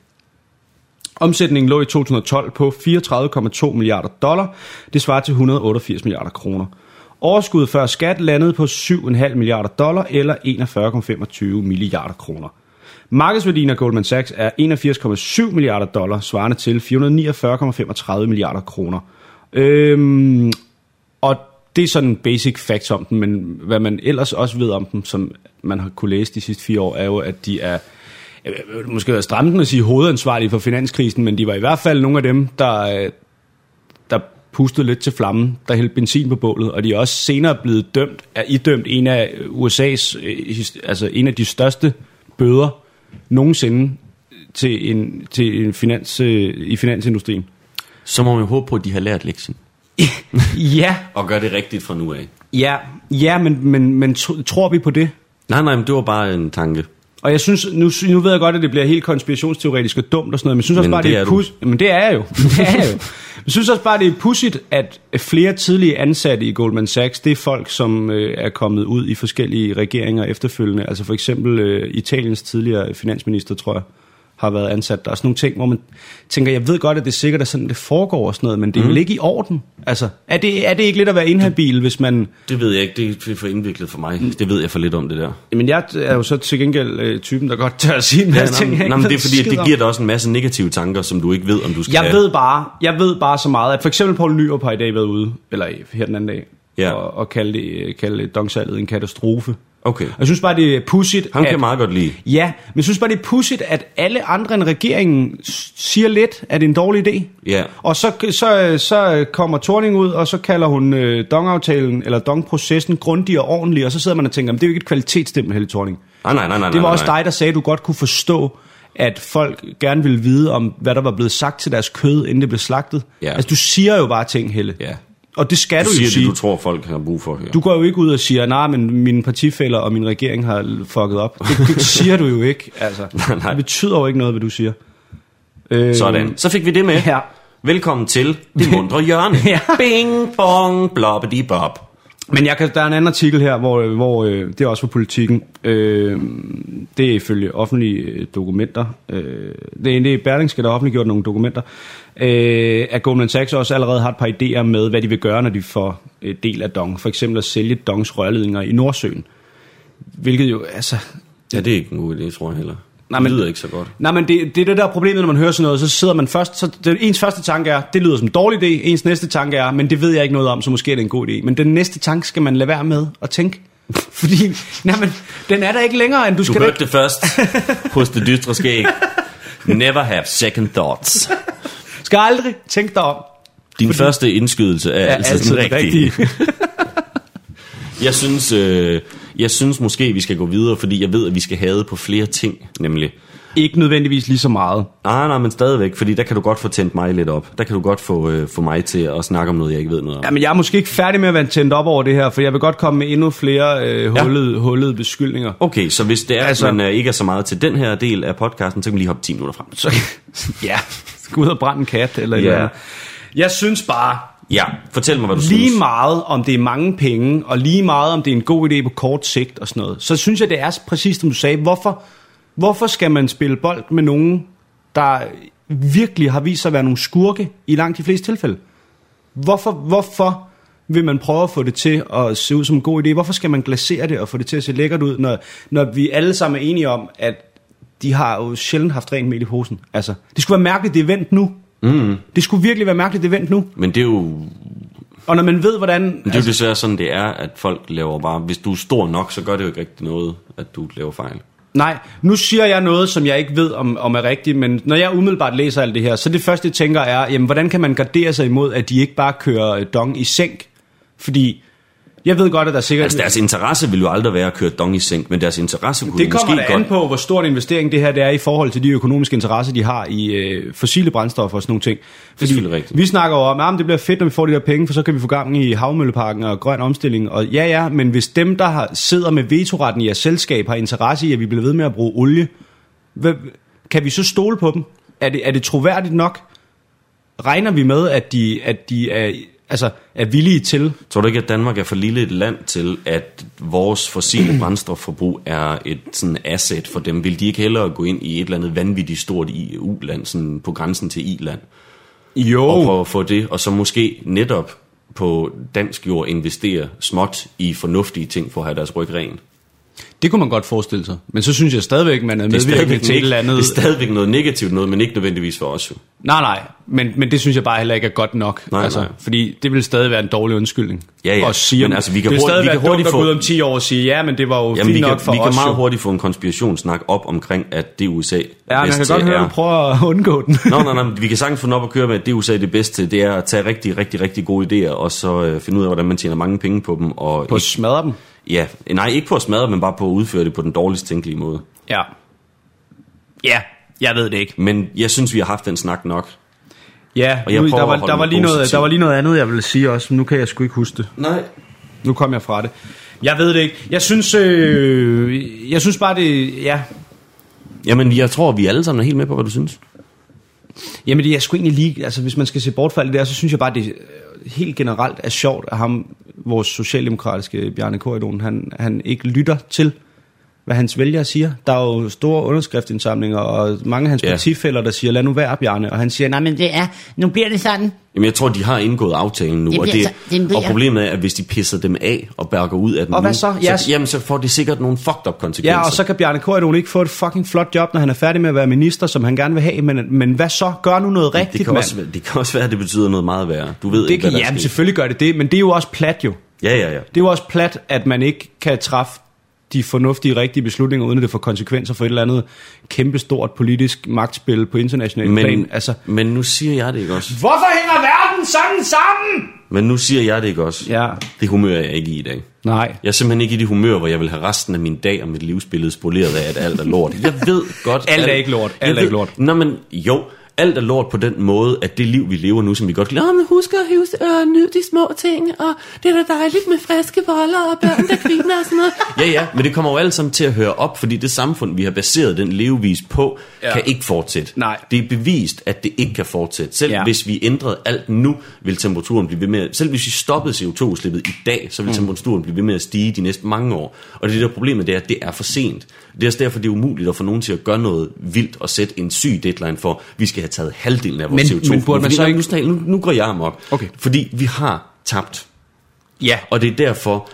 Omsætningen lå i 2012 på 34,2 milliarder dollar. Det svarer til 188 milliarder kroner. Overskuddet før skat landede på 7,5 milliarder dollar eller 41,25 milliarder kroner. Markedsværdien af Goldman Sachs er 81,7 milliarder dollar, svarende til 449,35 milliarder kroner. Øhm, og det er sådan basic facts om dem, men hvad man ellers også ved om dem, som man har kunne læse de sidste fire år, er jo, at de er jeg vil Øh, måske være stramt at sige hovedansvarlige for finanskrisen, men de var i hvert fald nogle af dem, der, øh, der pustede lidt til flammen, der hældte benzin på bålet, og de er også senere blevet dømt, er idømt en af USA's, øh, his- altså en af de største bøder nogensinde til en, til en finans, øh, i finansindustrien.
Så må man jo håbe på, at de har lært lektien.
(laughs) Ja,
Og gør det rigtigt fra nu af.
ja, ja, men, men, men tr- tror vi på det?
Nej, nej, men det var bare en tanke.
Og jeg synes, nu, nu ved jeg godt, at det bliver helt konspirationsteoretisk og dumt og sådan noget, men jeg synes også
Men
bare,
det
det er
er du.
pus- Men det er jeg
(laughs)
jo. Det er jeg jo. Jeg synes også bare, det er pudsigt, at flere tidlige ansatte i Goldman Sachs, det er folk, som øh, er kommet ud i forskellige regeringer efterfølgende. Altså for eksempel øh, Italiens tidligere finansminister, tror jeg, har været ansat der. Og sådan nogle ting, hvor man tænker, jeg ved godt, at det er sikkert er sådan, det foregår og sådan noget, men
Mhm.
det er mm. vel ikke i orden? Altså, er det, er det ikke lidt at være inhabil, hvis man...
Det ved jeg ikke, det er for indviklet for mig. Det ved jeg for lidt om det der.
Jamen, jeg er jo så til gengæld øh, typen, der godt tør at sige en masse
nej,
ting, jeg
nej,
ikke
nej, men
ved
det er fordi,
skid
at det
om.
giver dig også en masse negative tanker, som du ikke ved, om du skal
Jeg
have.
ved bare, jeg ved bare så meget, at for eksempel Poul Nyrup har i dag været ude, eller her den anden dag,
Ja.
og, og kalde, det, kalde dongsalget en katastrofe.
Okay.
Og jeg synes bare, det er pudsigt,
Ham kan
at,
jeg meget godt lide.
ja, men jeg synes bare, det er pudsigt, at alle andre end regeringen s- siger lidt, at det er en dårlig idé.
Ja.
Og så, så, så kommer Torning ud, og så kalder hun øh, dong-aftalen, eller dong-processen, grundig og ordentlig, og så sidder man og tænker, "Men det er jo ikke et kvalitetsstempel, Helle Torning.
Ah, Nej, nej, nej, nej.
Det var
nej,
også
nej.
dig, der sagde, at du godt kunne forstå, at folk gerne ville vide om, hvad der var blevet sagt til deres kød, inden det blev slagtet.
Ja.
Altså, du siger jo bare ting, Helle.
Ja.
Og det skal
Du
du,
siger
jo sige.
det, du tror, folk har brug for at høre.
Du går jo ikke ud og siger, nej, men mine partifælder og min regering har fucket op. Det, det siger du jo ikke, altså.
(laughs) Nej, nej.
Det betyder jo ikke noget, hvad du siger. Øh,
Sådan. Så fik vi det med.
Ja.
Velkommen til Det Mundre Hjørne.
(laughs) Ja.
Bing, bong, blobbedi, bob.
Men jeg kan, der er en anden artikel her, hvor, hvor øh, det er også for politikken. Øh, det er ifølge offentlige øh, dokumenter. Øh, det er det er Berlingske, der har offentliggjort nogle dokumenter. Øh, at Goldman Sachs også allerede har et par idéer med, hvad de vil gøre, når de får øh, del af Dong. For eksempel at sælge Dongs rørledninger i Nordsøen. Hvilket jo, altså...
Ja, det er ikke en god idé, tror jeg heller.
Nej,
Nej,
men-
men... Det lyder ikke så godt.
Nej, men det, det er det der er problemet, når man hører sådan noget, så sidder man først, så det, ens første tanke er, det lyder som en dårlig idé, ens næste tanke er, men det ved jeg ikke noget om, så måske er det en god idé. Men den næste tanke skal man lade være med at
(laughs)
tænke, fordi nej, men, den er der ikke længere, end du,
Du
skal da
hørte
ikke.
det først hos det dystre skæg. Never have second thoughts.
Skal aldrig tænke dig om. Altså,
Din Fordi... første indskydelse er, er altid, altid den rigtige. (laughs) Jeg synes, øh, jeg synes måske, vi skal gå videre, fordi jeg ved, at vi skal have på flere ting, nemlig. Ah,
ikke nødvendigvis lige så meget.
Nej, nej, men stadigvæk, fordi der kan du godt få tændt mig lidt op. Der kan du godt få, øh, få mig til at snakke om noget, jeg ikke ved noget om.
Jamen, jeg er måske ikke færdig med at være tændt op over det her, for jeg vil godt komme med endnu flere øh,
Ja.
hullede, ja. hullede beskyldninger. (laughs)
Okay, så hvis det er, altså...
Altså-
at man øh, ikke er så meget til den her del af podcasten, så kan vi lige hoppe 10 minutter frem.
Så, (laughs) ja, gå ud og brænde en kat eller et
Ja.
eller andet. Jeg synes bare,
Ja, fortæl mig, hvad du
Lige
synes.
meget om det er mange penge, og lige meget om det er en god idé på kort sigt og sådan noget, så synes jeg, det er præcis som du sagde. Hvorfor, hvorfor skal man spille bold med nogen, der virkelig har vist sig at være nogle skurke i langt de fleste tilfælde? Hvorfor, hvorfor vil man prøve at få det til at se ud som en god idé? Hvorfor skal man glasere det og få det til at se lækkert ud, når, når vi alle sammen er enige om, at de har jo sjældent haft rent mel i posen? Altså, det skulle være mærkeligt, det er vendt nu. Mm. Det skulle virkelig være mærkeligt, det er vendt nu.
Men det er jo
Og når man ved, hvordan...
Men det er jo desværre sådan, det er, at folk laver bare... Hvis du er stor nok, så gør det jo ikke rigtig noget, at du laver fejl.
Nej, nu siger jeg noget, som jeg ikke ved, om, om er rigtigt, men når jeg umiddelbart læser alt det her, så det første, jeg tænker er, jamen, hvordan kan man gardere sig imod, at de ikke bare kører øh, dong i sænk? Fordi jeg ved godt, at der er sikkert...
Altså, deres interesse vil jo aldrig være at køre dong i sænk, men deres interesse kunne
det
jo
kommer
måske
da an
godt...
på, hvor stor en investering det her det er i forhold til de økonomiske interesser, de har i øh, fossile brændstoffer og sådan nogle ting.
selvfølgelig rigtigt.
Vi snakker jo om, at det bliver fedt, når vi får de der penge, for så kan vi få gang i havmølleparken og grøn omstilling. Og ja, ja, men hvis dem, der har, sidder med vetoretten i jeres selskab, har interesse i, at vi bliver ved med at bruge olie, hvad, kan vi så stole på dem? Er det, er det troværdigt nok? Regner vi med, at de, at de er, altså, er villige til
Tror du ikke, at Danmark er for lille et land til, at vores
(clears throat)
fossile brændstofforbrug er et sådan asset for dem? Vil de ikke hellere gå ind i et eller andet vanvittigt stort EU-land, sådan på grænsen til I-land,
jo.
og prøve at få det, og så måske netop på dansk jord investere småt i fornuftige ting for at have deres ryg ren?
Det kunne man godt forestille sig. Men så synes jeg stadigvæk, man er
Det er,
medvirkende
stadigvæk
til et
neg-
eller andet.
det er stadigvæk noget negativt noget, men ikke nødvendigvis for os jo.
Nej, nej, men, men det synes jeg bare heller ikke er godt nok. altså.
Nej, nej.
Fordi det vil stadig være en dårlig undskyldning.
Ja, ja,
At sige,
men
men
altså, vi
det
kan
vil
hurtigt-
stadig
vi
være
kan
dumt
hurtigt
at gå
få-
ud om 10 år og sige, ja, men det var jo
Jamen,
fint
vi
nok
kan,
for
vi kan
os.
meget
jo.
hurtigt få en konspirationssnak op omkring, at det USA
ja, men jeg kan
bedst
godt
til
høre, du
er...
prøver at undgå den.
Nå, nej, nej, men vi kan sagtens få den op og køre med, at det USA er det bedste til, det er at tage rigtig, rigtig, rigtig gode idéer, og så øh, finde ud af, hvordan man tjener mange penge på dem.
(laughs)
Og
På at
ikke,
smadre dem.
ja, nej, ikke på at smadre, men bare på at udføre det på den dårligst tænkelige måde.
Ja. Ja, jeg ved det ikke.
Men jeg synes, vi har haft den snak nok.
Ja,
Og jeg
nu,
prøver
der,
at
var,
holde
der, var
mig
lige noget,
positiv.
der var lige noget andet, jeg ville sige også, men nu kan jeg sgu ikke huske det.
Nej.
Nu kom jeg fra det. Jeg ved det ikke. Jeg synes, øh, jeg synes bare, det... Ja.
Jamen, jeg tror, vi alle sammen er helt med på, hvad du synes.
Jamen, det er sgu egentlig lige... Altså, hvis man skal se bort fra alt det der, så synes jeg bare, det øh, helt generelt er sjovt, at ham, vores socialdemokratiske Bjarne Korydon, han, han ikke lytter til hvad hans vælgere siger. Der er jo store underskriftindsamlinger, og mange af hans
Ja.
ja. partifælder, der siger, lad nu være, Bjarne. Og han siger, nej, men det er, nu bliver det sådan.
Jamen, jeg tror, de har indgået aftalen nu,
Det
og,
bliver
det,
så- det bliver-
og problemet er, at hvis de pisser dem af og bærker ud af den
Og
nu,
hvad så? Yes.
så, jamen, så får de sikkert nogle fucked up konsekvenser.
Ja, og så kan Bjarne Korydon ikke få et fucking flot job, når han er færdig med at være minister, som han gerne vil have. Men, men hvad så? Gør nu noget rigtigt,
det kan,
mand.
også, være- det kan også være, at det betyder noget meget værre. Du ved
det
ikke,
kan,
hvad der
jamen,
er sket.
selvfølgelig gør det det, men det er jo også plat jo.
Ja, ja,
Det
ja.
er jo også plat, at man ikke kan træffe de fornuftige, rigtige beslutninger, uden at det får konsekvenser for et eller andet kæmpestort politisk magtspil på international men, plan.
Men,
Altså,
men nu siger jeg det ikke også.
hvorfor hænger verden sådan sammen?
Men nu siger jeg det ikke også.
Ja,
Det humør er jeg ikke i i dag.
nej.
Jeg er simpelthen ikke i det humør, hvor jeg vil have resten af min dag og mit livsbillede spoleret af, at alt er lort. Jeg
(laughs)
ved godt...
Alt er ikke lort.
jeg
Alt er
ved-
ikke lort.
Nå, men jo, alt er lort på den måde, at det liv, vi lever nu, som vi godt kan lide, "Åh, men husk at hive, øh, nyde de små ting, og det er da dejligt med friske boller og børn, der griner og sådan noget. Ja, ja, men det kommer jo alt sammen til at høre op, fordi det samfund, vi har baseret den levevis på, ja. kan ikke fortsætte.
Nej.
Det er bevist, at det ikke kan fortsætte. Selv
Ja.
ja. hvis vi ændrede alt nu, vil temperaturen blive ved med at, Selv hvis vi stoppede CO2-udslippet i dag, så vil
Mm.
temperaturen blive ved med at stige de næste mange år. Og det der problemet, det er, at det er for sent. Det er også derfor, det er umuligt at få nogen til at gøre noget vildt og sætte en syg deadline for, vi skal have taget halvdelen af vores
Men-
CO2.
men burde man
Fordi,
så
"Nå,
ikke-
Nu, snak- nu, nu går jeg amok.
Okay.
Fordi vi har tabt.
Ja,
Og det er derfor,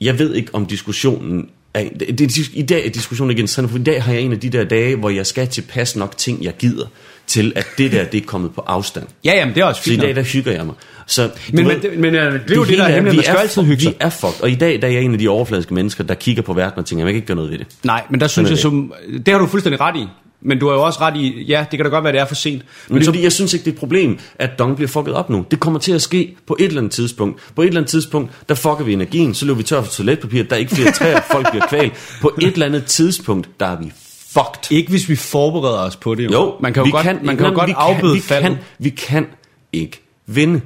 jeg ved ikke om diskussionen er, det, det, I dag er diskussionen ikke interessant, for i dag har jeg en af de der dage, hvor jeg skal tilpasse nok ting, jeg gider, til at det der, det er kommet på afstand.
ja jamen, det er også
Så i
fint.
dag,
nok.
der hygger jeg mig. Så, du
Men,
ved,
men, det- men øh, det er jo det,
hele
der er hemmeligt.
vi
Man skal
er
jo altid
fucked.
hygge sig.
Vi er fucked. Og i dag, der er jeg en af de overfladiske mennesker, der kigger på verden og tænker, jeg kan ikke gøre noget ved det.
Nej, men der synes
Sådan
jeg
er
som... Det har du fuldstændig ret i. Men du har jo også ret i, ja, det kan da godt være, det er for sent. Men,
Men
men
det er
så,
fordi, jeg synes ikke, det er et problem, at Dong bliver fucket op nu. Det kommer til at ske på et eller andet tidspunkt. På et eller andet tidspunkt, der fucker vi energien, så løber vi tør for toiletpapir, der er ikke flere træer, folk bliver kvalt. På et eller andet tidspunkt, der er vi fucked.
ikke hvis vi forbereder os på det.
Jo,
man kan jo
vi
godt,
kan,
man kan jo
Nå, men
godt
vi
afbøde
vi
faldet.
kan, vi kan ikke vinde.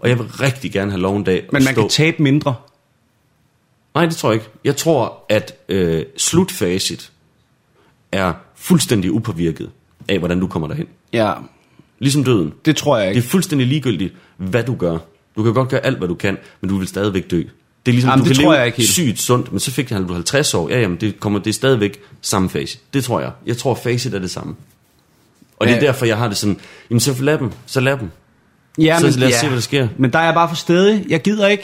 Og jeg vil rigtig gerne have lov en dag at
men man
stå
kan tabe mindre.
Nej, det tror jeg ikke. Jeg tror, at øh, slutfacit er fuldstændig upåvirket af, hvordan du kommer derhen.
Ja,
Ligesom døden.
det tror jeg
Det er
ikke.
fuldstændig ligegyldigt, hvad du gør. Du kan godt gøre alt, hvad du kan, men du vil stadigvæk dø. Det er ligesom,
Jamen,
du
det
kan
tror
leve
jeg ikke helt.
sygt sundt, men så fik han- du 50 år. Ja, jamen, det, kommer, det er stadigvæk samme facit. Det tror jeg. Jeg tror, facit er det samme. Og det er
Ja.
derfor, jeg har det sådan, jamen så lad dem, så lad dem.
Ja,
så lad os se, hvad der sker.
Men der er jeg bare for stedig. Jeg gider ikke.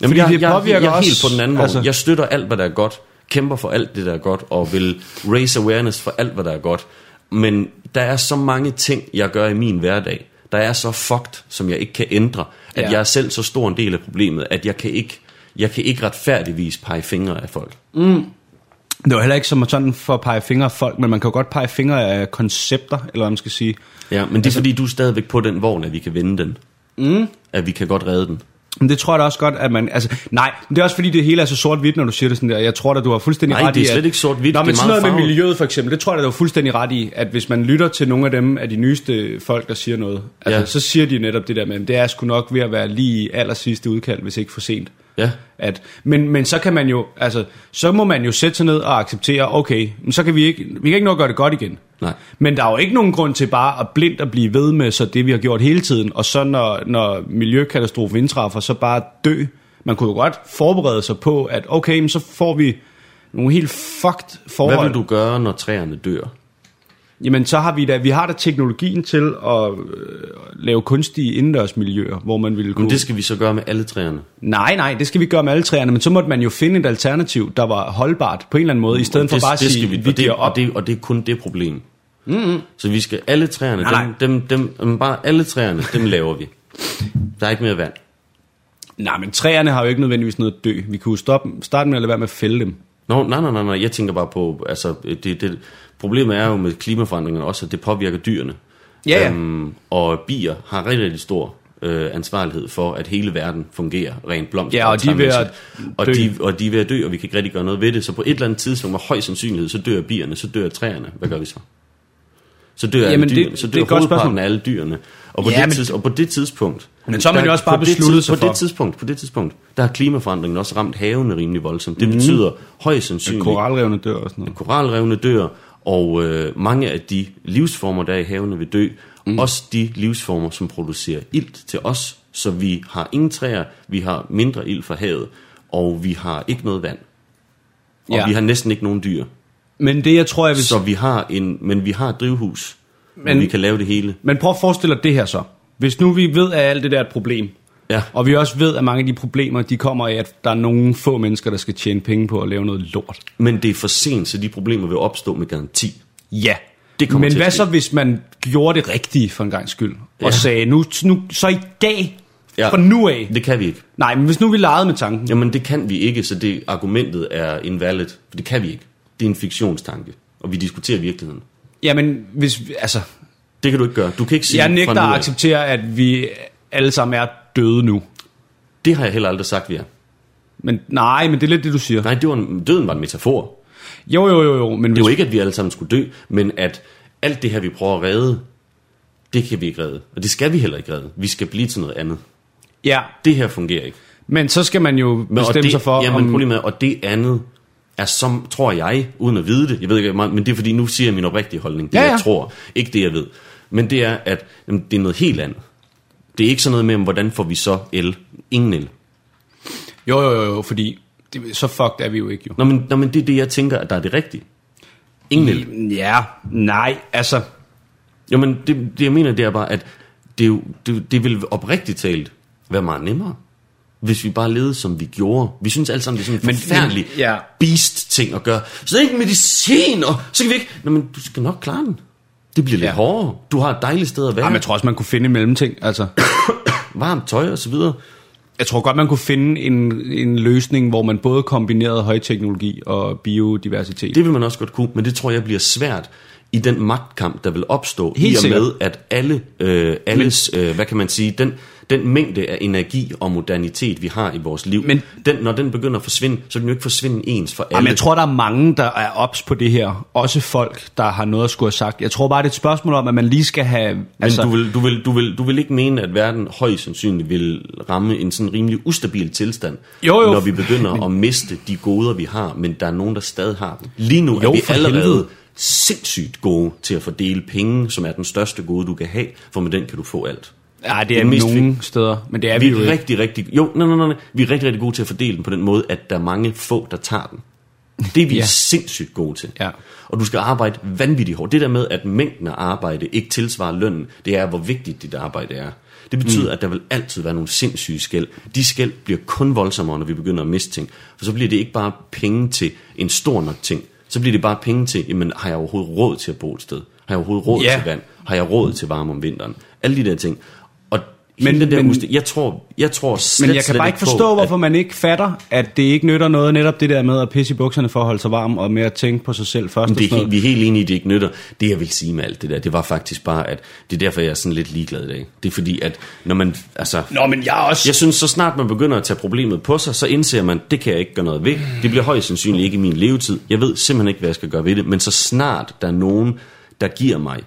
Jamen,
fordi
jeg,
det
jeg,
påvirker
jeg, jeg er
os.
helt på den anden vogn. Altså. Jeg støtter alt, hvad der er godt, kæmper for alt det, der er godt, og vil raise awareness for alt, hvad der er godt. Men der er så mange ting, jeg gør i min hverdag, der er så fucked, som jeg ikke kan ændre,
Ja.
at ja. jeg er selv så stor en del af problemet, at jeg kan ikke, jeg kan ikke retfærdigvis pege fingre af folk.
Det er jo heller ikke som sådan for at pege fingre af folk, men man kan jo godt pege fingre af koncepter, eller hvad man skal sige.
Ja, men det er altså, fordi, du er stadigvæk på den vogn, at vi kan vinde den. Mm. At vi kan godt redde den.
Men det tror jeg da også godt, at man... Altså, nej, men det er også fordi, det hele er så sort-hvidt, når du siger det sådan der. Jeg tror da, du har fuldstændig
Nej,
ret
det er
i, at-
slet ikke sort-hvidt.
Nå, men
Det er
sådan
meget
noget med
farvet.
miljøet for eksempel, det tror jeg da, du har fuldstændig ret i, at hvis man lytter til nogle af dem af de nyeste folk, der siger noget, altså,
Ja.
så siger de netop det der med, at det er sgu nok ved at være lige i allersidste udkald, hvis ikke for sent.
Ja.
At, men, men så kan man jo, altså, så må man jo sætte sig ned og acceptere, okay, men så kan vi ikke, vi kan ikke nå at gøre det godt igen.
Nej.
Men der er jo ikke nogen grund til bare at blindt at blive ved med så det, vi har gjort hele tiden, og så når, når miljøkatastrofen indtræffer, så bare dø. Man kunne jo godt forberede sig på, at okay, men så får vi nogle helt fucked forhold.
Hvad vil du gøre, når træerne dør?
Jamen, så har vi da, vi har da teknologien til at øh, lave kunstige indendørsmiljøer, hvor man ville kunne...
Men det skal vi så gøre med alle træerne.
Nej, nej, det skal vi gøre med alle træerne, men så måtte man jo finde et alternativ, der var holdbart på en eller anden måde, i stedet
Og
for bare at sige,
skal
vi,
og
vi
det,
giver op.
Og det, og det er kun det problem. Mm-hmm. Så vi skal alle træerne,
Nej, nej.
Dem, dem, dem, bare alle træerne, dem laver vi. Der er ikke mere vand.
Nej, men træerne har jo ikke nødvendigvis noget at dø. Vi kunne jo stoppe, starte med at lade være med at fælde dem.
Nå, nej, nej, nej, nej, jeg tænker bare på, altså, det, det, problemet er jo med klimaforandringerne også, at det påvirker dyrene.
Ja, ja.
Øhm, og bier har rigtig, rigtig stor øh, ansvarlighed for, at hele verden fungerer rent blomster.
Ja, og de er ved at
og
dø.
de, og de er ved at dø, og vi kan ikke rigtig gøre noget ved det. Så på et eller andet tidspunkt, med høj sandsynlighed, så dør bierne, så dør træerne. Hvad gør vi så? Så dør alle
Jamen, det-
dyrene, så
det er
dør
et godt spørgsmål.
hovedparten af alle dyrene. Og på,
Ja,
det,
men-
tids, og på det tidspunkt...
Men så har man
der-
jo også bare
på det
besluttet
tids-
sig
på
for-
det tidspunkt, på det tidspunkt, der har klimaforandringen også ramt havene rimelig voldsomt.
Mm.
Det betyder højst sandsynligt,
Koralrevne dør og sådan noget.
koralrevne dør, og øh, mange af de livsformer, der er i havene, vil dø. Mm. Også de livsformer, som producerer ilt til os, så vi har ingen træer, vi har mindre ild fra havet, og vi har ikke noget vand. Og
Ja.
ja. vi har næsten ikke nogen dyr.
Men det, jeg tror, jeg vil...
Så vi har en, men vi har et drivhus, men
Men-
vi kan lave det hele.
Men prøv at forestille dig det her så. Hvis nu vi ved, at alt det der er et problem,
Ja,
og vi også ved, at mange af de problemer, de kommer af, at der er nogle få mennesker, der skal tjene penge på at lave noget lort.
men det er for sent, så de problemer vil opstå med garanti.
Ja.
Det kommer
Men
til at
hvad
ske.
så, hvis man gjorde det rigtige for en gang skyld? Og
Ja.
sagde, nu, nu, så i dag, ja.
Ja.
fra nu af.
Det kan vi ikke.
Nej, men hvis nu vi legede med tanken.
Jamen det kan vi ikke, så det argumentet er invalid, for det kan vi ikke. Det er en fiktionstanke, og vi diskuterer virkeligheden.
Jamen, hvis, vi- altså,
Det kan du ikke gøre. Du kan ikke sige
jeg
fra
nægter
nu øh. af.
at acceptere, at vi alle sammen er døde nu.
Det har jeg heller aldrig sagt, vi er.
Men nej, men det er lidt det, du siger.
Nej, det var en, døden var en metafor.
Jo, jo, jo, jo. Men
Det
hvis,
var ikke, at vi alle sammen skulle dø, men at alt det her, vi prøver at redde, det kan vi ikke redde. Og det skal vi heller ikke redde. Vi skal blive til noget andet.
ja,
Det her fungerer ikke.
men så skal man jo
Men, og
bestemme
det,
sig for,
jamen,
om...
problemet er, og det andet er som, tror jeg, uden at vide det, jeg ved ikke, meget, men det er fordi, nu siger jeg min oprigtige holdning, det
Ja,
ja, ja.
ja.
jeg tror, ikke det jeg ved. Men det er, at jamen, det er noget helt andet. Det er ikke sådan noget med, jamen, hvordan får vi så el? Ingen el.
Jo, jo, jo, jo, fordi det, så fucked er vi jo ikke, jo.
Nå, men, nå, men det er det, jeg tænker, at der er det rigtige. Ingen
Mm.
el.
Ja, nej, altså...
Jamen, det, det jeg mener, det er bare, at det, er jo, det, det ville oprigtigt talt være meget nemmere, hvis vi bare levede, som vi gjorde. Vi synes alle sammen, det er sådan en
Men-
forfærdelig
men- ja.
beast-ting at gøre. Så ikke medicin, og så kan vi ikke... Nå, men du skal nok klare den. Det bliver lidt
Ja.
ja. hårdere. Du har et dejligt sted at være.
Jamen, jeg tror også, man kunne finde en mellemting. Altså,
Varmt tøj og så videre.
jeg tror godt, man kunne finde en, en løsning, hvor man både kombinerede højteknologi og biodiversitet. Det,
Det vil man også godt kunne, men det tror jeg bliver svært i den magtkamp, der vil opstå,
Helt
i og
sikkert.
med, at alle, øh, alles, øh, hvad kan man sige, den, den mængde af energi og modernitet, vi har i vores liv,
Men-
men, den, når den begynder at forsvinde, så vil den jo ikke forsvinde ens for alle.
Jamen, jeg tror, der er mange, der er ops på det her. Også folk, der har noget at skulle have sagt. Jeg tror bare, det er et spørgsmål om, at man lige skal have...
men altså, du, vil, du, vil, du, vil, du vil ikke mene, at verden højst sandsynligt vil ramme en sådan rimelig ustabil tilstand,
Jo, jo.
når vi
(laughs)
begynder at miste de goder, vi har, men der er nogen, der stadig har dem. Lige nu
Jo,
er vi
for
allerede
helvede.
helvede. sindssygt gode til at fordele penge, som er den største gode, du kan have, for med den kan du få alt.
ja, det
det
er
er mest
nogle steder, men det er vi,
vi
jo
er
ikke.
rigtig, rigtig... Jo, nej, nej, nej, nej. Vi er rigtig, rigtig gode til at fordele den på den måde, at der er mange få, der tager den. Det er vi
Ja.
ja. sindssygt gode til.
Ja.
Og du skal arbejde vanvittigt hårdt. Det der med, at mængden af arbejde ikke tilsvarer lønnen, det er, hvor vigtigt dit arbejde er. Det betyder, mm. at der vil altid være nogle sindssyge skæld. De skæld bliver kun voldsommere, når vi begynder at miste ting. For så bliver det ikke bare penge til en stor nok ting. Så bliver det bare penge til, jamen har jeg overhovedet råd til at bo et sted? Har jeg overhovedet råd
Ja.
til vand? Har jeg råd til varme om vinteren? Alle de der ting. Og
Men-
men, den der
men-
men, jeg tror, jeg tror slet,
Men jeg kan
slet
bare ikke
på,
forstå,
at-
hvorfor man ikke fatter, at det ikke nytter noget netop det der med at pisse i bukserne for at holde sig varm, og med at tænke på sig selv først. og
det
sådan
er, helt-
noget.
vi er helt enige, i, at det ikke nytter. Det, jeg vil sige med alt det der, det var faktisk bare, at det er derfor, jeg er sådan lidt ligeglad i dag. Det er fordi, at når man, altså...
Nå, men jeg er også...
Jeg synes, så snart man begynder at tage problemet på sig, så indser man, det kan jeg ikke gøre noget ved. Det bliver højst sandsynligt ikke i min levetid. Jeg ved simpelthen ikke, hvad jeg skal gøre ved det. Men så snart der er nogen, der giver mig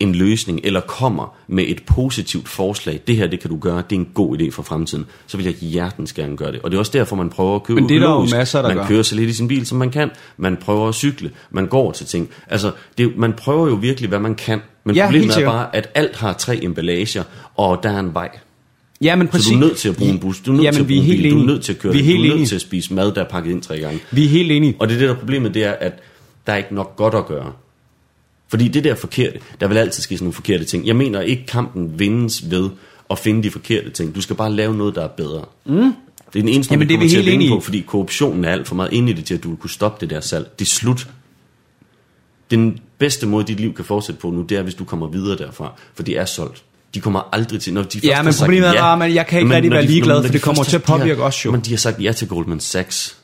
en løsning, eller kommer med et positivt forslag, det her, det kan du gøre, det er en god idé for fremtiden, så vil jeg hjertens gerne gøre det. Og det er også derfor, man prøver at købe
Men det er der jo
økologisk.
masser, der
Man
gør.
kører så lidt i sin bil, som man kan. Man prøver at cykle. Man går til ting. Altså, det, er jo- man prøver jo virkelig, hvad man kan. Men
Ja,
ja,
helt
problemet er
sikkert.
bare, at alt har tre emballager, og der er en vej.
Ja, men
Så
præcis.
du er nødt til at bruge en bus, du er nødt
Jamen,
til at
vi er
bruge en
helt
bil, du er
enige.
nødt til at køre
Vi er
den, du
helt
er
enige.
nødt til at spise mad, der er pakket ind tre gange.
Vi er helt enige.
Og det er det, der er problemet, det er, at der er ikke nok godt at gøre. Fordi det der forkerte, der vil altid ske sådan nogle forkerte ting. Jeg mener ikke, kampen vindes ved at finde de forkerte ting. Du skal bare lave noget, der er bedre. Mm. Det er den eneste,
Jamen,
Jamen,
det er
du
vi
kommer til at
helt
vinde
enige i.
på, fordi korruptionen er alt for meget inde i det til, at du vil kunne stoppe det der salg. Det er slut. Den bedste måde, dit liv kan fortsætte på nu, det er, hvis du kommer videre derfra. For det er solgt. De kommer aldrig til... Når de først
Ja,
har
men
sagt
problemet er bare, at jeg kan ikke
Men
rigtig
når
være
de-
ligeglad,
når
for
de
det kommer
først
til at
har- de har-
påvirke os jo.
Men de har sagt ja til Goldman Sachs.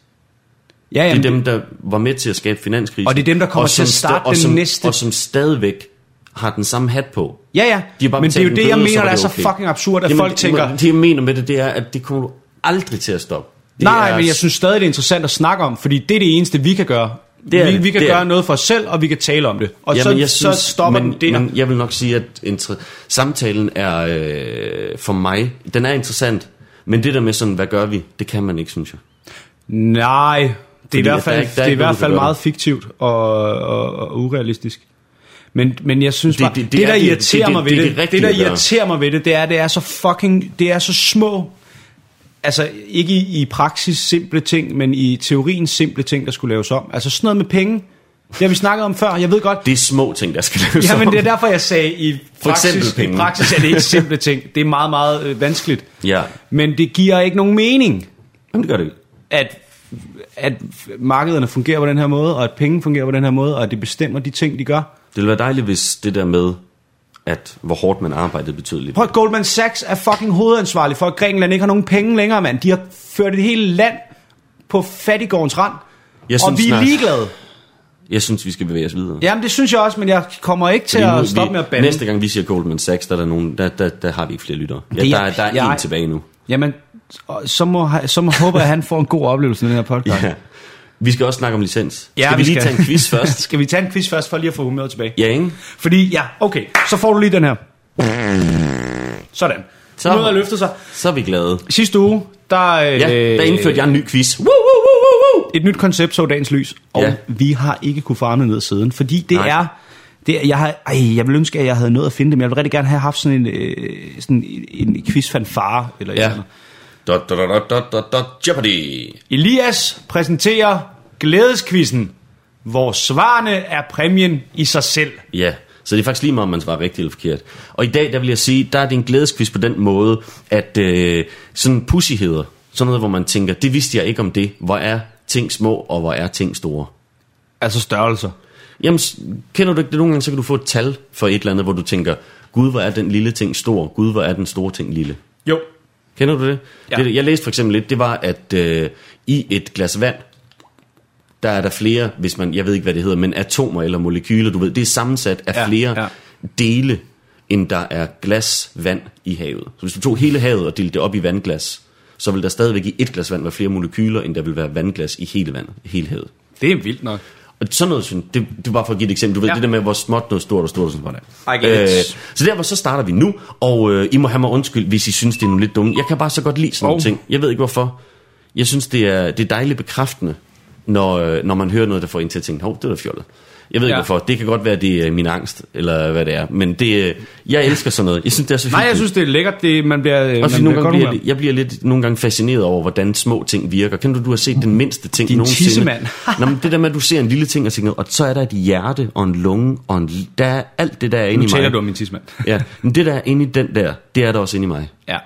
Ja, jamen,
Det er dem, der var med til at skabe finanskrisen.
Og det er dem, der kommer
og
til at
som sta-
starte
og
den
som,
næste.
Og som stadigvæk har den samme hat på.
Ja, ja.
De har bare
men det er jo
betalt en
det, jeg
bøde,
mener,
så var
der er
det
så
okay.
fucking absurd, at
Jamen,
folk
det-
tænker...
Det, jeg mener med det, det er, at det kommer du aldrig til at stoppe. Det
Nej, nej,
er
men jeg synes stadig, det er interessant at snakke om, fordi det er det eneste, vi kan gøre.
Det er
vi,
det,
vi kan
det er
gøre
det.
noget for os selv, og vi kan tale om det. Og så,
men jeg
så stopper
men,
den der.
Men jeg vil nok sige, at inter- samtalen er øh, for mig, den er interessant, men det der med sådan, hvad gør vi, det kan man ikke, synes jeg.
Nej, det er i
at
hvert fald,
der er ikke-
det
der er
er i
ikke
hvert
noget, du
fald
kan gøre.
meget fiktivt og, og, og urealistisk. Men, men jeg synes
Det-
bare, det,
det- det
det, det
er
der
det-
irriterer
det-
mig
det- det
ved
er
det,
det
det der
rigtige at gøre.
irriterer mig ved det, det er, det er så fucking, det er så små altså ikke i, i praksis simple ting, men i teorien simple ting, der skulle laves om. Altså sådan noget med penge, det har vi snakket om før, jeg ved godt.
Det er små ting, der skal (laughs) laves
Ja, men
om.
det er derfor, jeg sagde, i
For eksempel
praksis, i
penge.
praksis er det ikke simple ting. Det er meget, meget øh, vanskeligt.
Ja,
Men det giver ikke nogen mening,
Jamen, det gør det ikke.
at, at markederne fungerer på den her måde, og at penge fungerer på den her måde, og at det bestemmer de ting, de gør.
Det ville være dejligt, hvis det der med, at hvor hårdt man arbejdede betød lidt.
Prøv at Goldman Sachs er fucking hovedansvarlig for, at Grækenland ikke har nogen penge længere, mand. De har ført et helt land på fattigårdens rand,
Jeg
og
synes,
vi er
snart,
ligeglade.
jeg synes, vi skal bevæge os videre.
Jamen, det synes jeg også, men jeg kommer ikke til
Fordi nu
at
er
stoppe
vi,
med at bande.
Næste gang vi siger Goldman Sachs, der, er der, nogen, der, der, der har vi ikke flere lyttere. Ja,
Det
der,
er-
er, der er
jeg-
én tilbage nu.
Jamen, så må, ha- så må håber jeg, at han får en god oplevelse med den her podcast.
(laughs) Ja. Vi skal også snakke om licens.
Ja,
skal vi,
vi
lige
skal.
tage en
(laughs)
quiz først?
Skal vi tage en quiz først, for lige at få humøret tilbage?
Ja, ikke?
Fordi, ja, okay, så får du lige den her. Sådan.
Så-
Så. Humøret løfter sig.
Så er vi glade.
Sidste uge, der, øh,
Ja, der indførte jeg en ny quiz. Woo, woo, woo, woo, woo.
et nyt koncept så dagens lys, og
Ja.
ja. vi har ikke kunne farme ned siden, fordi det
Nej.
Nej. er... Det, er- jeg, har, ej, jeg vil ønske, at jeg havde nået at finde dem. Jeg ville rigtig gerne have haft sådan en, øh, sådan en, en quiz-fanfare. Eller ja.
Ja. Dot, dot, dot, dot, dot, dot, Jeopardy.
Elias præsenterer glædeskvissen, hvor svarene er præmien i sig selv.
Ja, så det er faktisk lige meget, om man svarer rigtigt eller forkert. Og i dag, der vil jeg sige, der er det en glædeskvist på den måde, at øh, sådan pussyheder, sådan noget, hvor man tænker, det vidste jeg ikke om det. Hvor er ting små, og hvor er ting store?
Altså størrelser.
Jamen, s- kender du ikke det nogle gange, så kan du få et tal for et eller andet, hvor du tænker, gud, hvor er den lille ting stor, gud, hvor er den store ting lille.
Jo.
Kender du det?
Ja.
det jeg læste for eksempel lidt, det var, at øh, i et glas vand, der er der flere, hvis man, jeg ved ikke, hvad det hedder, men atomer eller molekyler, du ved, det er sammensat af ja,
Ja,
flere ja.
ja.
dele, end der er glas vand i havet. Så hvis du tog hele havet og delte det op i vandglas, så vil der stadigvæk i et glas vand være flere molekyler, end der vil være vandglas i hele vandet, i hele havet.
Det er vildt nok.
Og sådan noget, synes- det, det var bare for at give et eksempel. Du ved, ja.
Ja.
det der med, hvor småt noget stort og stort og sådan noget. Øh,
I get it.
så derfor så starter vi nu, og øh, I må have mig undskyld, hvis I synes, det er nogle lidt dumme. Jeg kan bare så godt lide sådan nogle
Oh.
ting. Jeg ved ikke hvorfor. Jeg synes, det er, det er dejligt bekræftende, når, øh, når man hører noget, der får en til at tænke, hov, det var fjollet. Jeg ved ja.
Ja.
ikke hvorfor. Det kan godt være, det er min angst, eller hvad det er. Men det, øh, jeg elsker sådan noget. Jeg synes, det er så
Nej, jeg
hyggeligt.
synes, det er lækkert. Det, man bliver, øh, man
Også fordi
bliver
nogle gange
godt
bliver
humør.
jeg, jeg bliver lidt nogle gange fascineret over, hvordan små ting virker. Kan du, du har set den mindste ting
Din
nogensinde?
tissemand.
(laughs) Nå, men det der med, at du ser en lille ting og tænker, og så er der et hjerte og en lunge, og en, l- der er alt det der er inde
Nu
i
taler
mig.
du om min tidsmand.
Ja, men det der er inde i den der, det er der også inde i mig.
Ja.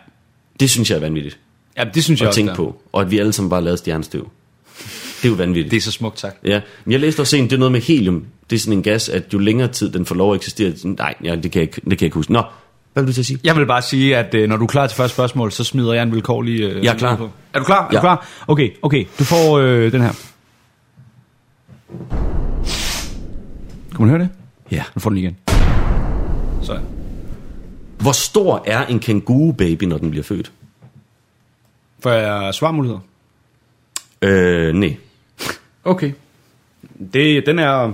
Det synes jeg er vanvittigt
ja, det synes jeg
at
også.
tænke
der.
på. Og at vi alle sammen bare lavede stjernestøv. Det er jo vanvittigt.
Det er så smukt, tak.
Ja, men jeg læste også en, det er noget med helium. Det er sådan en gas, at jo længere tid den får lov at eksistere, sådan, nej, ja, det, kan jeg ikke, det kan jeg ikke huske. Nå, hvad vil du til at sige?
Jeg vil bare sige, at øh, når du er klar til første spørgsmål, så smider jeg en vilkårlig... Øh,
Jeg er klar.
Er du klar? Er
Ja.
du klar? Okay, okay. Du får øh, den her. Kan man høre det?
Ja.
Nu får den igen. Sådan.
Hvor stor er en kanguru baby, når den bliver født?
Får jeg svarmuligheder?
Øh, nej.
Okay. Det, den er...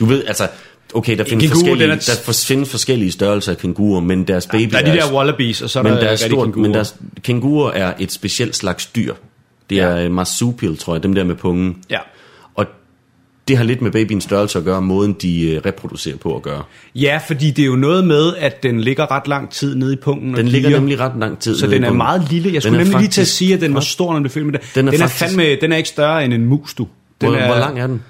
Du ved, altså, okay, der findes,
kænguru,
forskellige,
den er-
der for- findes forskellige størrelser af kænguruer, men deres baby
Der er de der wallabies, og så er
men
der,
der er
rigtig
stort,
kænguruer.
men deres kænguruer er et specielt slags dyr. Det er ja. marsupial, tror jeg, dem der med pungen.
Ja.
Og det har lidt med babyens størrelse at gøre, måden de øh, reproducerer på at gøre.
ja, fordi det er jo noget med, at den ligger ret lang tid nede i pungen. og
Den ligger
giver.
nemlig ret lang tid.
Så
nede i
den er
pungen.
meget lille. Jeg skulle
er
nemlig lige til at
faktisk-
sige, at den var stor, når den blev født med det.
Den
Den
er
er, den er,
faktisk-
fandme, den er ikke større end en mus, du. Den
Hvor, hvor lang er den?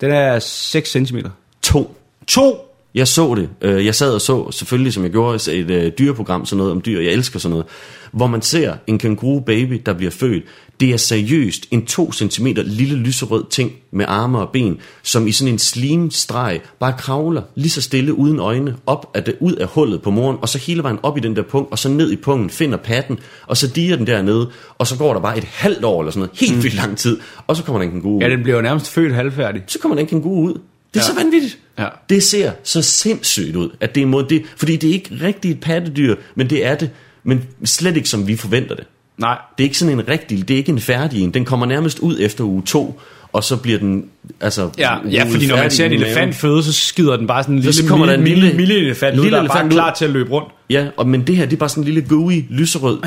Den er 6 cm.
To.
2!
Jeg så det. Øh, Jeg sad og så, selvfølgelig som jeg gjorde, et øh, dyreprogram, sådan noget om dyr, jeg elsker sådan noget, hvor man ser en kanguru baby, der bliver født. Det er seriøst en 2 cm lille lyserød ting med arme og ben, som i sådan en slimstreg bare kravler lige så stille uden øjne op af det, ud af hullet på moren, og så hele vejen op i den der pung, og så ned i pungen, finder patten, og så diger den dernede, og så går der bare et halvt år eller sådan noget, helt vildt lang tid, og så kommer der en kanguru.
Ja,
ud
den bliver jo nærmest født halvfærdig.
så kommer der en kænguru ud. Det er ja.
Ja.
så vanvittigt.
Ja.
Det ser så sindssygt ud, at det er måde, det, fordi det er ikke rigtigt et pattedyr, men det er det, men slet ikke som vi forventer det.
Nej.
Det er ikke sådan en rigtig, det er ikke en færdig en. Den kommer nærmest ud efter uge to, og så bliver den, altså...
Ja, ja
rullet
fordi når man
færdig
ser en
i maven.
elefant føde, så skider den bare sådan en
Så
lille, så
kommer
mille,
der en
mille,
lille-
mille, mille elefant,
lille
lille ud, der er bare
elefant ud.
klar til at løbe rundt.
Ja, og, men det her, det er bare sådan en lille gooey,
(laughs)
lyserød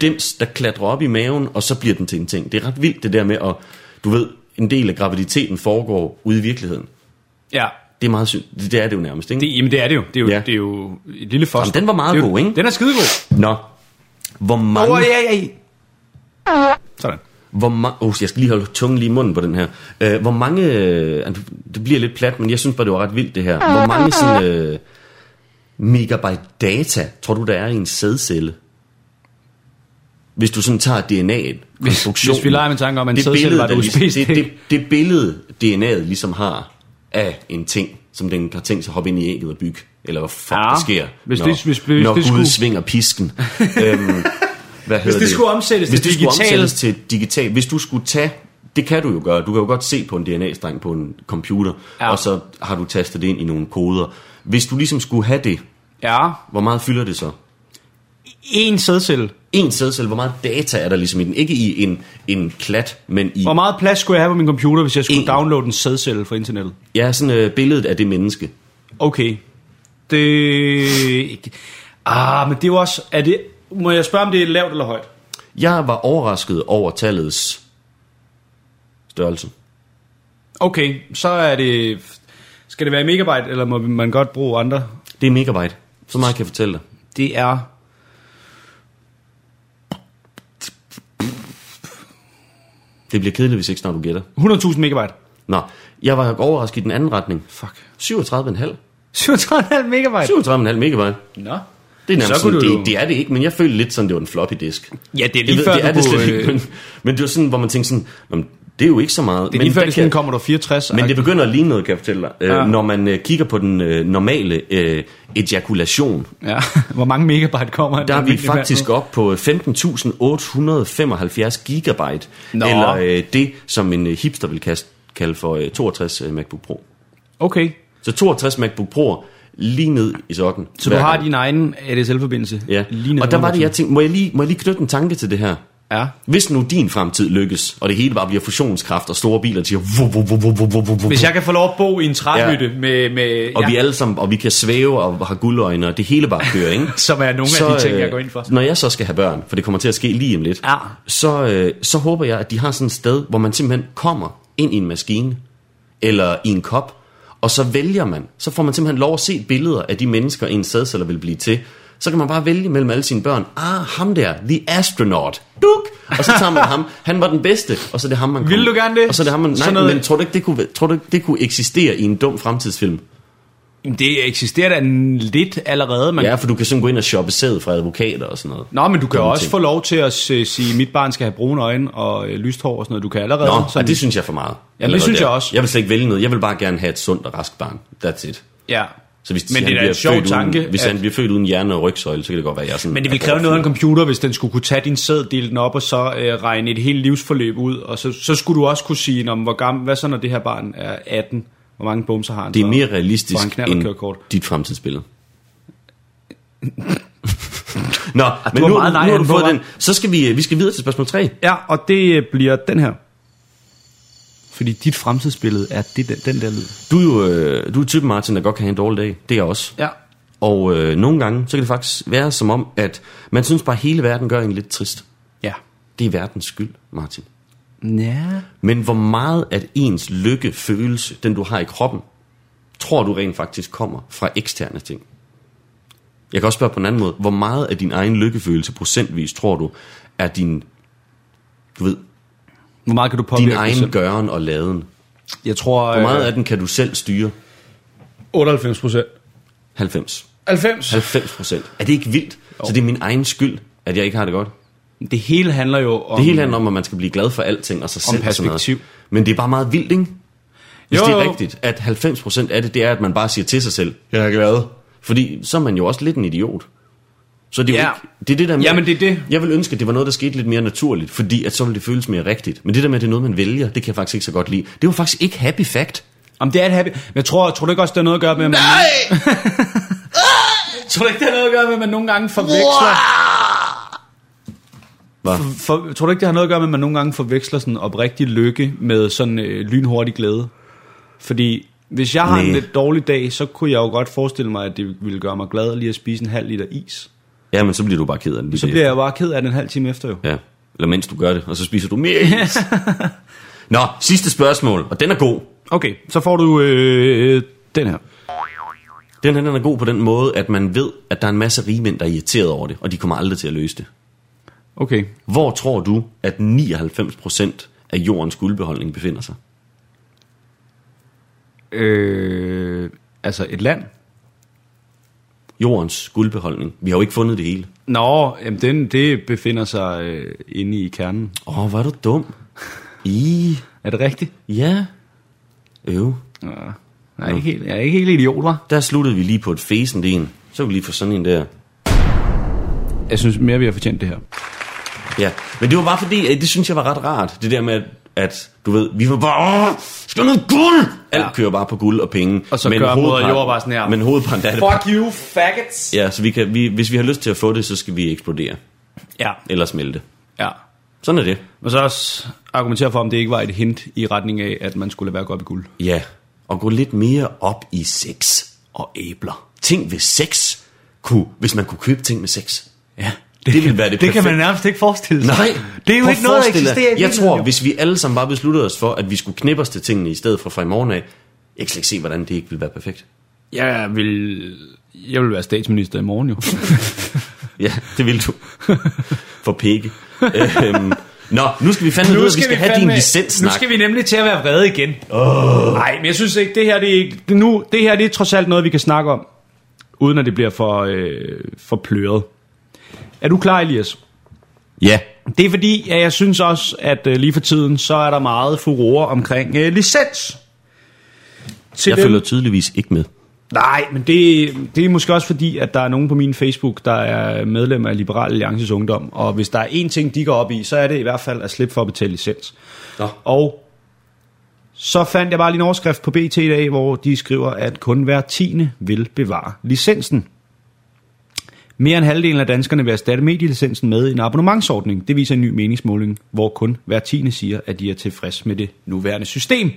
dims, der klatrer op i maven, og så bliver den til en ting. Det er ret vildt det der med at, du ved, en del af graviditeten foregår ude i virkeligheden.
Ja,
Det er meget sygt. Det, det er det jo nærmest, ikke?
det, jamen det er det jo. Det er jo,
Ja.
ja. det er jo et lille foster.
Jamen, den var meget
Det er jo-
god, ikke?
Den er skidegod.
Nå. Hvor mange...
Åh, oh, ja, ja, ja. Sådan.
Hvor ma- oh, jeg skal lige holde tungen lige i munden på den her. Øh, hvor mange... Øh, det bliver lidt plat, men jeg synes bare, det var ret vildt det her. Hvor mange sådan, øh, megabyte data tror du, der er i en sædcelle? Hvis du sådan tager DNA'en, konstruktionen...
hvis vi leger med tanke om, at en
det
sædcelle
billede,
var et
der ligesom,
USB-stik.
det, det, det billede, DNA'et ligesom har af en ting, som den har tænkt sig at hoppe ind i ægget og bygge, eller hvad fuck
Ja,
der sker,
hvis
når,
det- hvis- hvis
når
det
Gud
skulle-
svinger
(laughs)
pisken. øhm, hvad
Hvis det skulle omsættes
hvis
til
det skulle
digitalt-
omsættes til digital, hvis du skulle tage, det kan du jo gøre, du kan jo godt se på en DNA-streng på en computer,
Ja.
ja. og så har du tastet det ind i nogle koder. Hvis du ligesom skulle have det,
Ja.
hvor meget fylder det så?
En sædcelle.
En sædcelle, hvor meget data er der ligesom i den? Ikke i en, en klat, men i
Hvor meget plads skulle jeg have på min computer, hvis jeg skulle
En.
downloade en sædcelle fra internettet?
ja, sådan, øh, billedet af det menneske.
Okay. Det... Ah, men det er jo også... Er det... Må jeg spørge, om det er lavt eller højt?
Jeg var overrasket over tallets størrelse.
Okay, så er det... Skal det være i megabyte, eller må man godt bruge andre?
Det er megabyte. Så meget kan jeg fortælle dig.
Det er...
Det bliver kedeligt, hvis ikke snart du gætter.
100.000 megabyte.
Nå, jeg var overrasket i den anden retning.
Fuck.
37,5.
37,5 megabyte.
37,5 megabyte.
Nå.
Det er nærmest
Så kunne
sådan,
du jo-
det, det er det ikke, men jeg følte lidt sådan, det var en floppy disk.
Ja, det er
Jeg
lige
ved,
før,
det er
du
det
kunne,
slet
øh,
ikke, men, men det var sådan, hvor man tænkte sådan, "Nå, men det er jo ikke så meget.
Det er lige før,
der
det er
kan-
sådan Ah. kommer der 64.
Men det begynder at ligne noget, kan jeg fortælle dig.
Ja.
Ja. Øh, når man øh, kigger på den øh, normale øh, ejakulation,
Ja, (laughs) hvor mange megabyte kommer en
der er vi
almindelig mand
faktisk
med?
op på øh, 15.875 gigabyte.
Nå.
Eller øh, det, som en øh, hipster vil kas- kalde for øh, 62 øh, MacBook Pro.
Okay,
Så 62 MacBook Pro lige ned i sokken.
så du
hver
har
gang.
din egen ADSL-forbindelse.
Ja,
Lige ned
og der var det,
under
jeg tænkte, må jeg, lige, må jeg lige knytte en tanke til det her?
Ja.
Hvis nu din fremtid lykkes, og det hele bare bliver fusionskraft og store biler, der siger, "Vuh, vuh, vuh, vuh, vuh, vuh, vuh, vuh."
Hvis jeg kan få lov at bo i en træhytte ja. med... med
og
ja,
vi alle sammen, og vi kan svæve og har guldøjne, og det hele bare kører, ikke?
(laughs) som er nogle af de ting, jeg går ind for.
øh, Når jeg så skal have børn, for det kommer til at ske lige om lidt,
Ja.
så, øh, så håber jeg, at de har sådan et sted, hvor man simpelthen kommer ind i en maskine, eller i en kop, og så vælger man. Så får man simpelthen lov at se billeder af de mennesker, en sædceller vil blive til. Så kan man bare vælge mellem alle sine børn. Ah, ham der, the astronaut. Duk! Og så tager man ham. Han var den bedste, og så er det ham, man kom.
Vil du gerne det?
Og så er det ham, man... Nej,
Sådan noget-
men tror du ikke, det kunne, tror du ikke, det kunne eksistere i en dum fremtidsfilm?
Jamen, Det eksisterer da en- lidt allerede. Man...
Ja, for du kan sådan gå ind og shoppe sæd fra advokater og sådan noget.
Nå, men du kan
Dumme
også
ting.
få lov til at se- sige, at mit barn skal have brune øjne og øh, lyst hår og sådan noget. Du kan allerede...
Nå,
sådan-
og det synes jeg er for meget.
Jamen, det
Allerede
synes jeg
der.
også.
Jeg vil slet ikke vælge noget. Jeg vil bare gerne have et sundt og rask barn. That's it.
ja.
Så hvis
Men
han
det er da
bliver
en sjov
født
tanke.
Uden, hvis
at-
han bliver født uden hjerne og rygsøjle, så kan det godt være, at jeg er sådan...
Men det vil
at-
kræve noget af en computer, hvis den skulle kunne tage din sæd, dele den op og så øh, regne et helt livsforløb ud. Og så, så skulle du også kunne sige, Nå, men hvor gammel, hvad så når det her barn er 18? Hvor mange bumser har han?
Det er
så?"
mere
Får han
realistisk
knald og
end
kørekort.
dit
(laughs)
fremtidsbillede. Nå, men
var
nu,
meget nej,
nu har du
han var
fået
meget-
den. Så skal vi, vi skal videre til spørgsmål 3.
Ja, og det øh, bliver den her. Fordi dit fremtidsbillede er det, der- den der lyd.
Du er jo øh, du er typen, Martin, der godt kan have en dårlig dag. Det er jeg også.
Ja.
Og øh, nogle gange, så kan det faktisk være som om, at man synes bare, at hele verden gør en lidt trist.
Ja.
Det er verdens skyld, Martin.
Ja.
Men hvor meget at ens lykkefølelse, den du har i kroppen, tror du rent faktisk kommer fra eksterne ting? Jeg kan også spørge på en anden måde. Hvor meget af din egen lykkefølelse procentvis tror du er din, du ved,
Hvor meget kan du påvirke
din
dig
egen
selv?
gøren og laden?
Jeg tror... øh,
Hvor meget af den kan du selv styre?
98 procent.
90.
90?
90 procent. Er det ikke vildt? Så det er min egen skyld, at jeg ikke har det godt.
Det hele handler jo om...
Det hele handler om, at man skal blive glad for alting og sig selv. og sådan noget.
perspektiv.
Men det er bare meget vildt, ikke? Hvis
Jo,
jo, det
jo.
er rigtigt, at 90% af det, det er, at man bare siger til sig selv, jeg er glad. Fordi så er man jo også lidt en idiot. Så det er
Ja.
jo ikke, det er det der med,
Jamen, det er det.
Jeg vil ønske, at det var noget, der skete lidt mere naturligt, fordi at så ville det føles mere rigtigt. Men det der med, at det er noget, man vælger, det kan jeg faktisk ikke så godt lide. Det var faktisk ikke happy fact.
Om det er et happy... Men jeg tror, tror du ikke også, det har noget at gøre med, at man...
Nej!
(laughs) Tror du ikke, det har noget at gøre med, at man nogle gange forveksler...
Hva?
For, tror du ikke, det har noget at gøre med, at man nogle gange forveksler sådan oprigtig lykke med sådan øh, lynhurtig glæde? Fordi hvis jeg har en
Næh.
lidt dårlig dag, så kunne jeg jo godt forestille mig, at det ville gøre mig glad lige at spise en halv liter is.
Ja, men så bliver du bare ked af det. lige
Så
bagefter.
bliver jeg jo bare ked af den en halv time efter jo.
Ja, eller mens du gør det, og så spiser du mere (laughs) is. Nå, sidste spørgsmål, og den er god.
Okay, så får du øh, øh, den her.
Den her den er god på den måde, at man ved, at der er en masse rige mænd, der er irriteret over det, og de kommer aldrig til at løse det.
Okay.
Hvor tror du, at 99% af jordens guldbeholdning befinder sig?
Øh, altså et land?
Jordens guldbeholdning. Vi har jo ikke fundet det hele.
Nå, jamen den, det befinder sig øh, inde i kernen.
Åh, oh, var du dum. I,
Er det rigtigt?
ja. Øv.
Ja. Nej, ikke helt, jeg er ikke helt idiot, var.
Der sluttede vi lige på et fæsent en. Så kan vi lige få sådan en der.
Jeg synes mere, vi har fortjent det her.
Ja, men det var bare fordi, at det synes jeg var ret rart. Det der med, at, at du ved, vi var bare, åh, skal noget guld! Alt ja. kører bare på guld og penge.
Og så gør moder
hovedparten-
jord bare sådan her.
Men hovedparten er det.
Fuck you, faggots!
Ja, så vi kan, vi, hvis vi har lyst til at få det, så skal vi eksplodere.
Ja.
Eller smelte.
Ja.
Sådan er det.
Og så også argumentere for, om det ikke var et hint i retning af, at man skulle lade være at gå op i guld.
Ja, og gå lidt mere op i sex.
Og æbler.
Ting ved sex, kunne, hvis man kunne købe ting med sex.
Ja.
Det, det ville være det
Det kan
perfekte.
man nærmest ikke forestille sig.
Nej,
Det er jo
prøv
ikke noget, der
at forestille dig.
eksisterer i
Jeg tror,
virkeligheden, jo.
hvis vi alle sammen bare besluttede os for, at vi skulle knippe os til tingene i stedet for fra i morgen af, jeg kan slet ikke se, hvordan det ikke ville være perfekt.
Jeg vil, jeg vil være statsminister i (laughs) morgen jo.
Ja,
(laughs)
det vil du. For pikke. øhm, nå, nu skal vi fandme nu videre. Vi skal have
fandme-
din licenssnak.
Nu skal vi nemlig til at være vrede igen.
Nej, men jeg synes ikke, det her, det, er ikke, det, nu, det her det er trods alt noget, vi kan snakke om, uden at det bliver for, øh, for pløret. Er du klar, Elias?
Ja.
Det er fordi, at jeg synes også, at øh, lige for tiden, så er der meget furore omkring øh, licens. Til
Jeg
dem-
følger tydeligvis ikke med.
Nej, men det, det er måske også fordi, at der er nogen på min Facebook, der er medlem af Liberal Alliances Ungdom. Og hvis der er én ting, de går op i, så er det i hvert fald at slippe for at betale licens.
Nå.
Og så fandt jeg bare lige en overskrift på BT i dag, hvor de skriver, at kun hver tiende vil bevare licensen. Mere end halvdelen af danskerne vil erstatte medielicensen med en abonnementsordning. Det viser en ny meningsmåling, hvor kun hver tiende siger, at de er tilfredse med det nuværende system.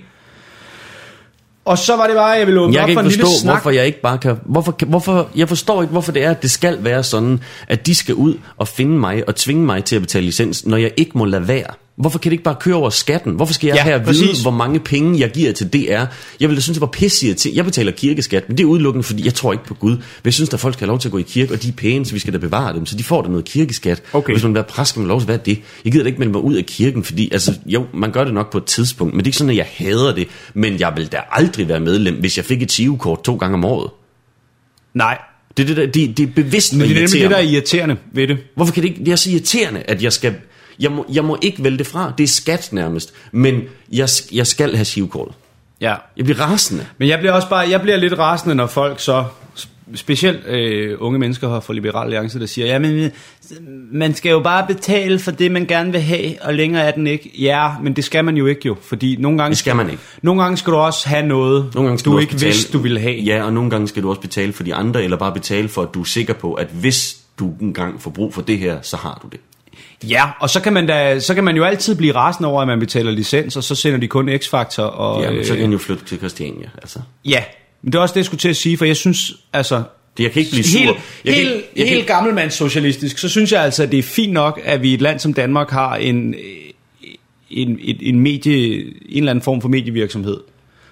Og så var det bare, jeg ville åbne
Jeg
op
kan
for en
ikke
lille
forstå,
snak.
hvorfor jeg ikke bare kan... Hvorfor, kan- hvorfor, jeg forstår ikke, hvorfor det er, at det skal være sådan, at de skal ud og finde mig og tvinge mig til at betale licens, når jeg ikke må lade være. Hvorfor kan det ikke bare køre over skatten? Hvorfor skal jeg
Ja,
ja, her
præcis.
vide, hvor mange penge jeg giver til DR? Jeg ville da synes, det var pisse til. Jeg betaler kirkeskat, men det er udelukkende, fordi jeg tror ikke på Gud. Men jeg synes, at folk skal have lov til at gå i kirke, og de er pæne, så vi skal da bevare dem, så de får da noget kirkeskat.
Okay.
Hvis man vil være præst, skal man have lov til at være det. Jeg gider da ikke melde mig ud af kirken, fordi altså, jo, man gør det nok på et tidspunkt, men det er ikke sådan, at jeg hader det. Men jeg vil da aldrig være medlem, hvis jeg fik et SIU-kort to gange om året.
Nej,
Det er, det, der, det, det er bevidst,
Men det er
irriterer
nemlig det, der er
mig.
irriterende ved det.
Hvorfor kan det ikke... Det er så irriterende, at jeg skal... Jeg må, jeg må ikke vælge det fra. Det er skat nærmest. Men jeg, sk- jeg skal have SIU-kortet.
Ja.
Jeg bliver rasende.
Men jeg bliver også bare, jeg bliver lidt rasende, når folk så, specielt øh, unge mennesker her fra Liberal Alliance, der siger, jamen, øh, man skal jo bare betale for det, man gerne vil have, og længere er den ikke. Ja, men det skal man jo ikke jo, fordi nogle gange...
Det skal man ikke.
Nogle gange skal du også have noget,
Nogle gange
du,
skal du også
ikke
betale-
vidste, du ville have.
Ja, og nogle gange skal du også betale for de andre, eller bare betale for, at du er sikker på, at hvis du engang får brug for det her, så har du det.
Ja, og så kan, man da, så kan man jo altid blive rasende over, at man betaler licens, og så sender de kun X-Factor og...
Ja, men så
øh,
kan han jo flytte til Christiania. Altså.
ja. Men det er også det, jeg skulle til at sige, for jeg synes, altså,
Det, jeg kan ikke blive sur.
helt,
jeg kan,
helt,
ikke- jeg kan,
helt gammelmandssocialistisk, så synes jeg altså, at det er fint nok, at vi i et land som Danmark har en, øh, en, en, en, medie, en eller anden form for medievirksomhed,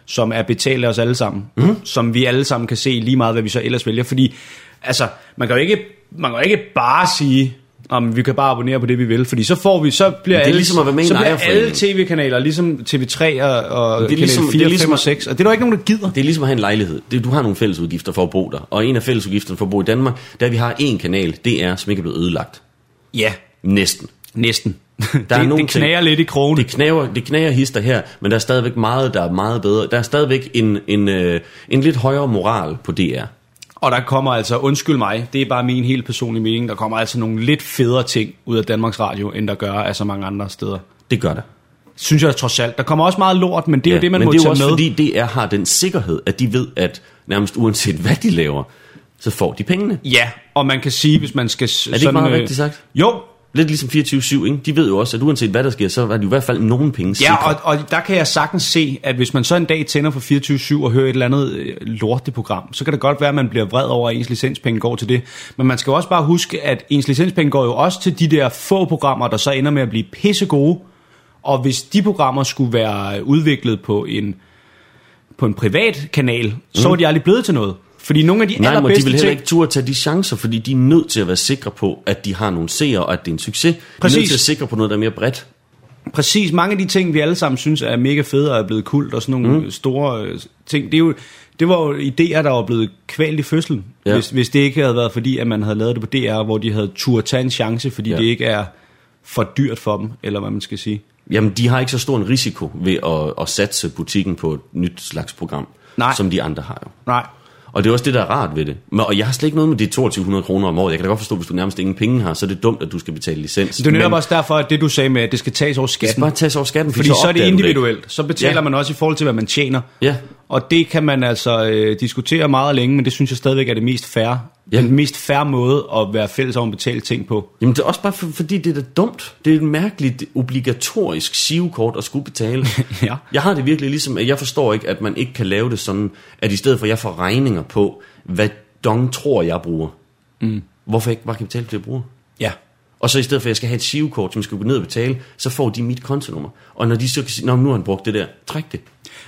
som er betalt af os alle sammen,
Mhm.
mm. som vi alle sammen kan se lige meget, hvad vi så ellers vælger. Fordi altså, man kan jo ikke, man kan jo ikke bare sige, om vi kan bare abonnere på det, vi vil, fordi så får vi, så bliver
Men det er
alle,
ligesom at være med i
så
en
bliver alle
ejerforening.
tv-kanaler, ligesom TV3 og, og
er
kanal
ligesom-
4,
det er ligesom
5 og
at-
6, og det er der jo ikke nogen, der gider.
Det er ligesom at have en lejlighed. Det, du har nogle fælles udgifter for at bo der. Og en af fælles udgifterne for at bo i Danmark, der vi har en kanal, det er, som ikke er blevet ødelagt.
Ja,
Næsten.
næsten.
Der er
det,
nogle
det knager lidt i krogen.
Det knager, det knager hister her, men der er stadigvæk meget, der er meget bedre. Der er stadigvæk en, en, øh, en lidt højere moral på DR.
Og der kommer altså, undskyld mig, det er bare min helt personlige mening, der kommer altså nogle lidt federe ting ud af Danmarks Radio, end der gør af så mange andre steder.
Det gør der.
Synes jeg trods alt. Der kommer også meget lort, men det er ja, jo det, man
men
må
det er jo
tage
også
med.
fordi DR har den sikkerhed, at de ved, at nærmest uanset hvad de laver, så får de pengene.
Ja, og man kan sige, hvis man skal... Er
ikke meget
øh,
rigtigt sagt?
Jo,
Lidt ligesom 24-7, ikke? De ved jo også, at uanset hvad der sker, så er de i hvert fald nogen penge sikre.
Ja, og, og der kan jeg sagtens se, at hvis man så en dag tænder for 24-7 og hører et eller andet øh, lorteprogram, så kan det godt være, at man bliver vred over, at ens licenspenge går til det. Men man skal jo også bare huske, at ens licenspenge går jo også til de der få programmer, der så ender med at blive pissegode. Og hvis de programmer skulle være udviklet på en, på en privat kanal, så var de aldrig blevet til noget. Fordi nogle af de
Mm. Nej, men de
allerbedste
vil heller
ting...
ikke turde tage de chancer, fordi de er nødt til at være sikre på, at de har nogle seere, og at det er en succes. Præcis. De er nødt
Præcis.
til at sikre på noget, der er mere bredt.
Præcis, mange af de ting, vi alle sammen synes er mega fede og er blevet kult og sådan nogle mm. store øh, ting, det, er jo, det var jo idéer, der var blevet kvalt i fødslen,
Ja.
ja. hvis, hvis det ikke havde været fordi, at man havde lavet det på DR, hvor de havde turde tage en chance, fordi
Ja.
ja. det ikke er for dyrt for dem, eller hvad man skal sige.
Jamen, de har ikke så stor en risiko ved at, at satse butikken på et nyt slags program,
Nej.
som de andre har jo.
Nej,
Og det er også det, der er rart ved det. Men, og jeg har slet ikke noget med de 2200 kroner om året. Jeg kan da godt forstå, hvis du nærmest ingen penge har, så er det dumt, at du skal betale licens.
det er netop
Men
også derfor, at det du sagde med, at det skal tages over
det skal
skatten,
bare tages over skatten,
fordi så er det
opdager du
individuelt. Så betaler
Ja.
ja. man også i forhold til, hvad man tjener.
Ja,
Og det kan man altså øh, diskutere meget længe, men det synes jeg stadigvæk er det mest færre.
Ja.
Ja. Den mest færre måde at være fælles om at betale ting på.
Jamen det er også bare for, fordi det er da dumt. Det er et mærkeligt obligatorisk sivkort at skulle betale.
(laughs) Ja.
Jeg har det virkelig ligesom, at jeg forstår ikke, at man ikke kan lave det sådan, at i stedet for at jeg får regninger på, hvad dong tror jeg bruger, mm. hvorfor ikke bare kan betale for det, jeg bruger?
Ja.
Og så i stedet for, at jeg skal have et sivkort, som jeg skal gå ned og betale, så får de mit kontonummer. Og når de så kan sige, "Nå, nu har han brugt det der, træk det.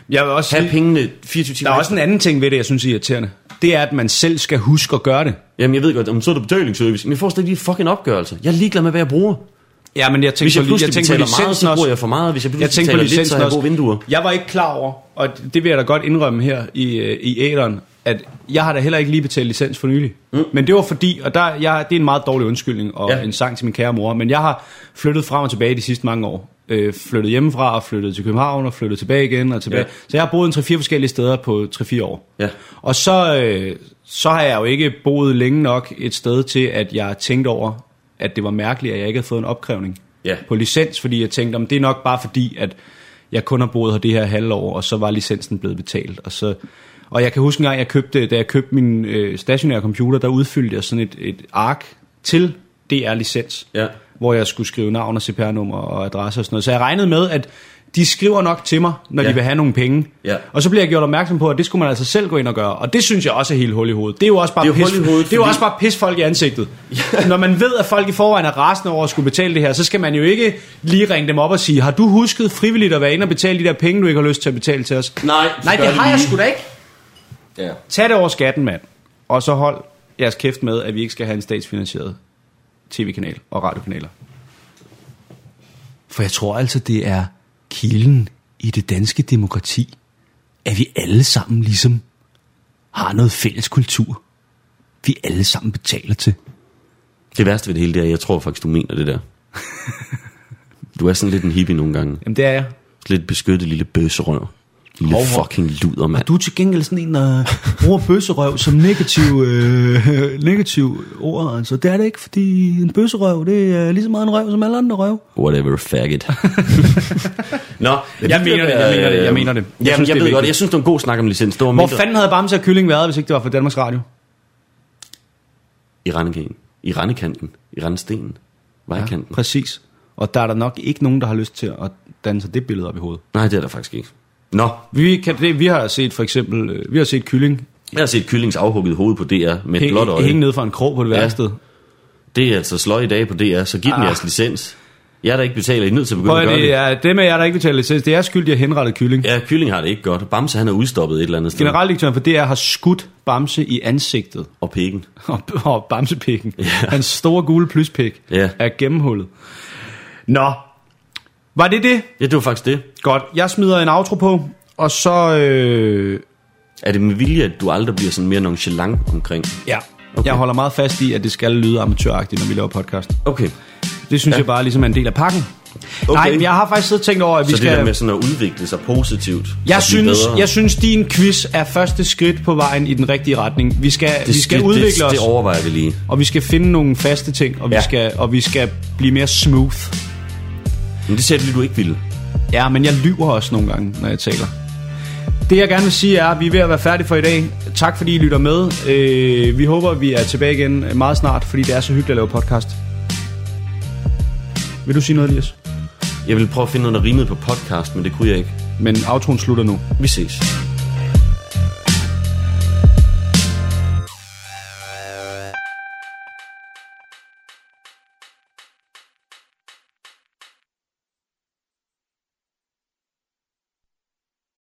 Jeg vil også
Tag
sige,
pengene 24 timer.
der er
ekstra.
også en anden ting ved det, jeg synes er irriterende. Det er, at man selv skal huske at gøre det.
Jamen jeg ved godt, om så er der betalingsservice, men jeg får slet ikke de fucking opgørelser. Jeg er ligeglad med, hvad jeg bruger.
Ja, men jeg tænker
Hvis jeg
på,
pludselig
jeg tænker
betaler
på
meget,
licensen
så bruger
også.
jeg for meget. Hvis jeg
Jeg
pludselig
tænker på
betaler lidt, så
licensen
har jeg gode vinduer.
også. Jeg var ikke klar over, og det vil jeg da godt indrømme her i, øh, i æderen, at jeg har da heller ikke lige betalt licens for nylig. Mm. Men det var fordi, og der, jeg, det er en meget dårlig undskyldning og
Ja.
ja. en sang til min kære mor, men jeg har flyttet frem og tilbage de sidste mange år. Øh, flyttet hjemmefra og flyttet til København og flyttet tilbage igen og tilbage.
Ja.
Ja. Så jeg har boet en 3-4 forskellige steder på 3-4 år.
Ja.
Og så, øh, så har jeg jo ikke boet længe nok et sted til, at jeg tænkte over, at det var mærkeligt, at jeg ikke havde fået en opkrævning
Ja.
på licens, fordi jeg tænkte, om det er nok bare fordi, at jeg kun har boet her det her halvår, og så var licensen blevet betalt. Og, så, og jeg kan huske en gang, jeg købte, da jeg købte min øh, stationære computer, der udfyldte jeg sådan et, et ark til DR-licens,
Ja.
hvor jeg skulle skrive navn og CPR-nummer og adresse og sådan noget. Så jeg regnede med, at de skriver nok til mig, når
Ja.
de vil have nogle penge.
Ja.
Og så bliver jeg gjort opmærksom på, at det skulle man altså selv gå ind og gøre. Og det synes jeg også er helt hul i hovedet. Det er jo også bare,
Det er jo
pis,
hul i hovedet,
det er jo
fordi-
også bare pis folk i ansigtet. Når man ved, at folk i forvejen er rasende over at skulle betale det her, så skal man jo ikke lige ringe dem op og sige, har du husket frivilligt at være inde og betale de der penge, du ikke har lyst til at betale til os?
Nej,
Nej, det har jeg sgu da ikke.
Ja.
Tag det over skatten, mand. Og så hold jeres kæft med, at vi ikke skal have en statsfinansieret tv-kanal og radiokanaler. For jeg tror altså, det er kilden i det danske demokrati, at vi alle sammen ligesom har noget fælles kultur, vi alle sammen betaler til.
Det værste ved det hele, det er, at jeg tror faktisk, du mener
(laughs)
det der. Du er sådan lidt en hippie nogle gange.
Jamen det er jeg.
Lidt beskyttet lille bøsserør. Lille
Hov, hov.
fucking luder, mand.
Du er til gengæld sådan en, der bruger bøsserøv som negativ, øh, (laughs) negativ ord. Altså, det er det ikke, fordi en bøsserøv, det er lige så meget en røv som alle andre røv.
Whatever,
(laughs)
faggot. Nå,
Jeg mener det, jeg mener det, jeg mener det.
Jeg, øh, jamen, synes, jeg
det er
ved godt,
vigtigt.
jeg synes, det var en god snak om licens. Det var
Hvor
mindre-
fanden havde Bamse og Kylling været, hvis ikke det var for Danmarks Radio?
I Randekanten. I Randekanten. I Randestenen. Vejkanten.
Præcis. Og der er der nok ikke nogen, der har lyst til at danne sig det billede op i hovedet.
Nej, det er der faktisk ikke. Nå,
Vi, kan, det, vi har set for eksempel, øh, vi har set Kylling
jeg har set kyllings afhugget hoved på DR med et blåt
hæ- hænge
øje.
ned fra en krog på det
Ja.
værste.
Det er altså sløj i dag på DR, så giv dem jeres licens. Jeg der ikke betaler, I er nødt til at begynde
Ah. Prøv
at
at
gøre det.
det er det med jer, der ikke betaler licens. Det er skyld, de har henrettet Kylling.
Ja, kylling har det ikke godt. Bamse, han er udstoppet et eller andet sted.
Generaldirektøren for DR har skudt Bamse i ansigtet. (laughs)
Og pikken.
og, og bamsepikken. Ja. Hans store gule pluspik
Ja.
er gennemhullet. Nå, var det det?
Ja, det var faktisk det.
Godt. Jeg smider en outro på, og så... Øh,
Er det med vilje, at du aldrig bliver sådan mere nonchalant omkring?
ja.
Okay.
Okay. Jeg holder meget fast i, at det skal lyde amatøragtigt, når vi laver podcast.
Okay.
Det synes ja. jeg bare ligesom er en del af pakken. Okay. Nej, men jeg har faktisk siddet og tænkt over, at vi
Så det
skal...
der med sådan at udvikle sig positivt.
Jeg
og blive
synes,
bedre,
jeg synes, din quiz er første skridt på vejen i den rigtige retning. Vi skal, vi skal
det,
udvikle
det,
os,
Det overvejer vi lige.
og vi skal finde nogle faste ting, og vi,
Ja.
skal, og vi skal blive mere smooth.
Men det sagde du lige, du ikke ville.
Ja, men jeg lyver også nogle gange, når jeg taler. Det jeg gerne vil sige er, at vi er ved at være færdige for i dag. Tak fordi I lytter med. Øh, vi håber, vi er tilbage igen meget snart, fordi det er så hyggeligt at lave podcast. Vil du sige noget, Elias?
Jeg ville prøve at finde noget, der rimede på podcast, men det kunne jeg ikke.
Men autoen slutter nu.
Vi ses.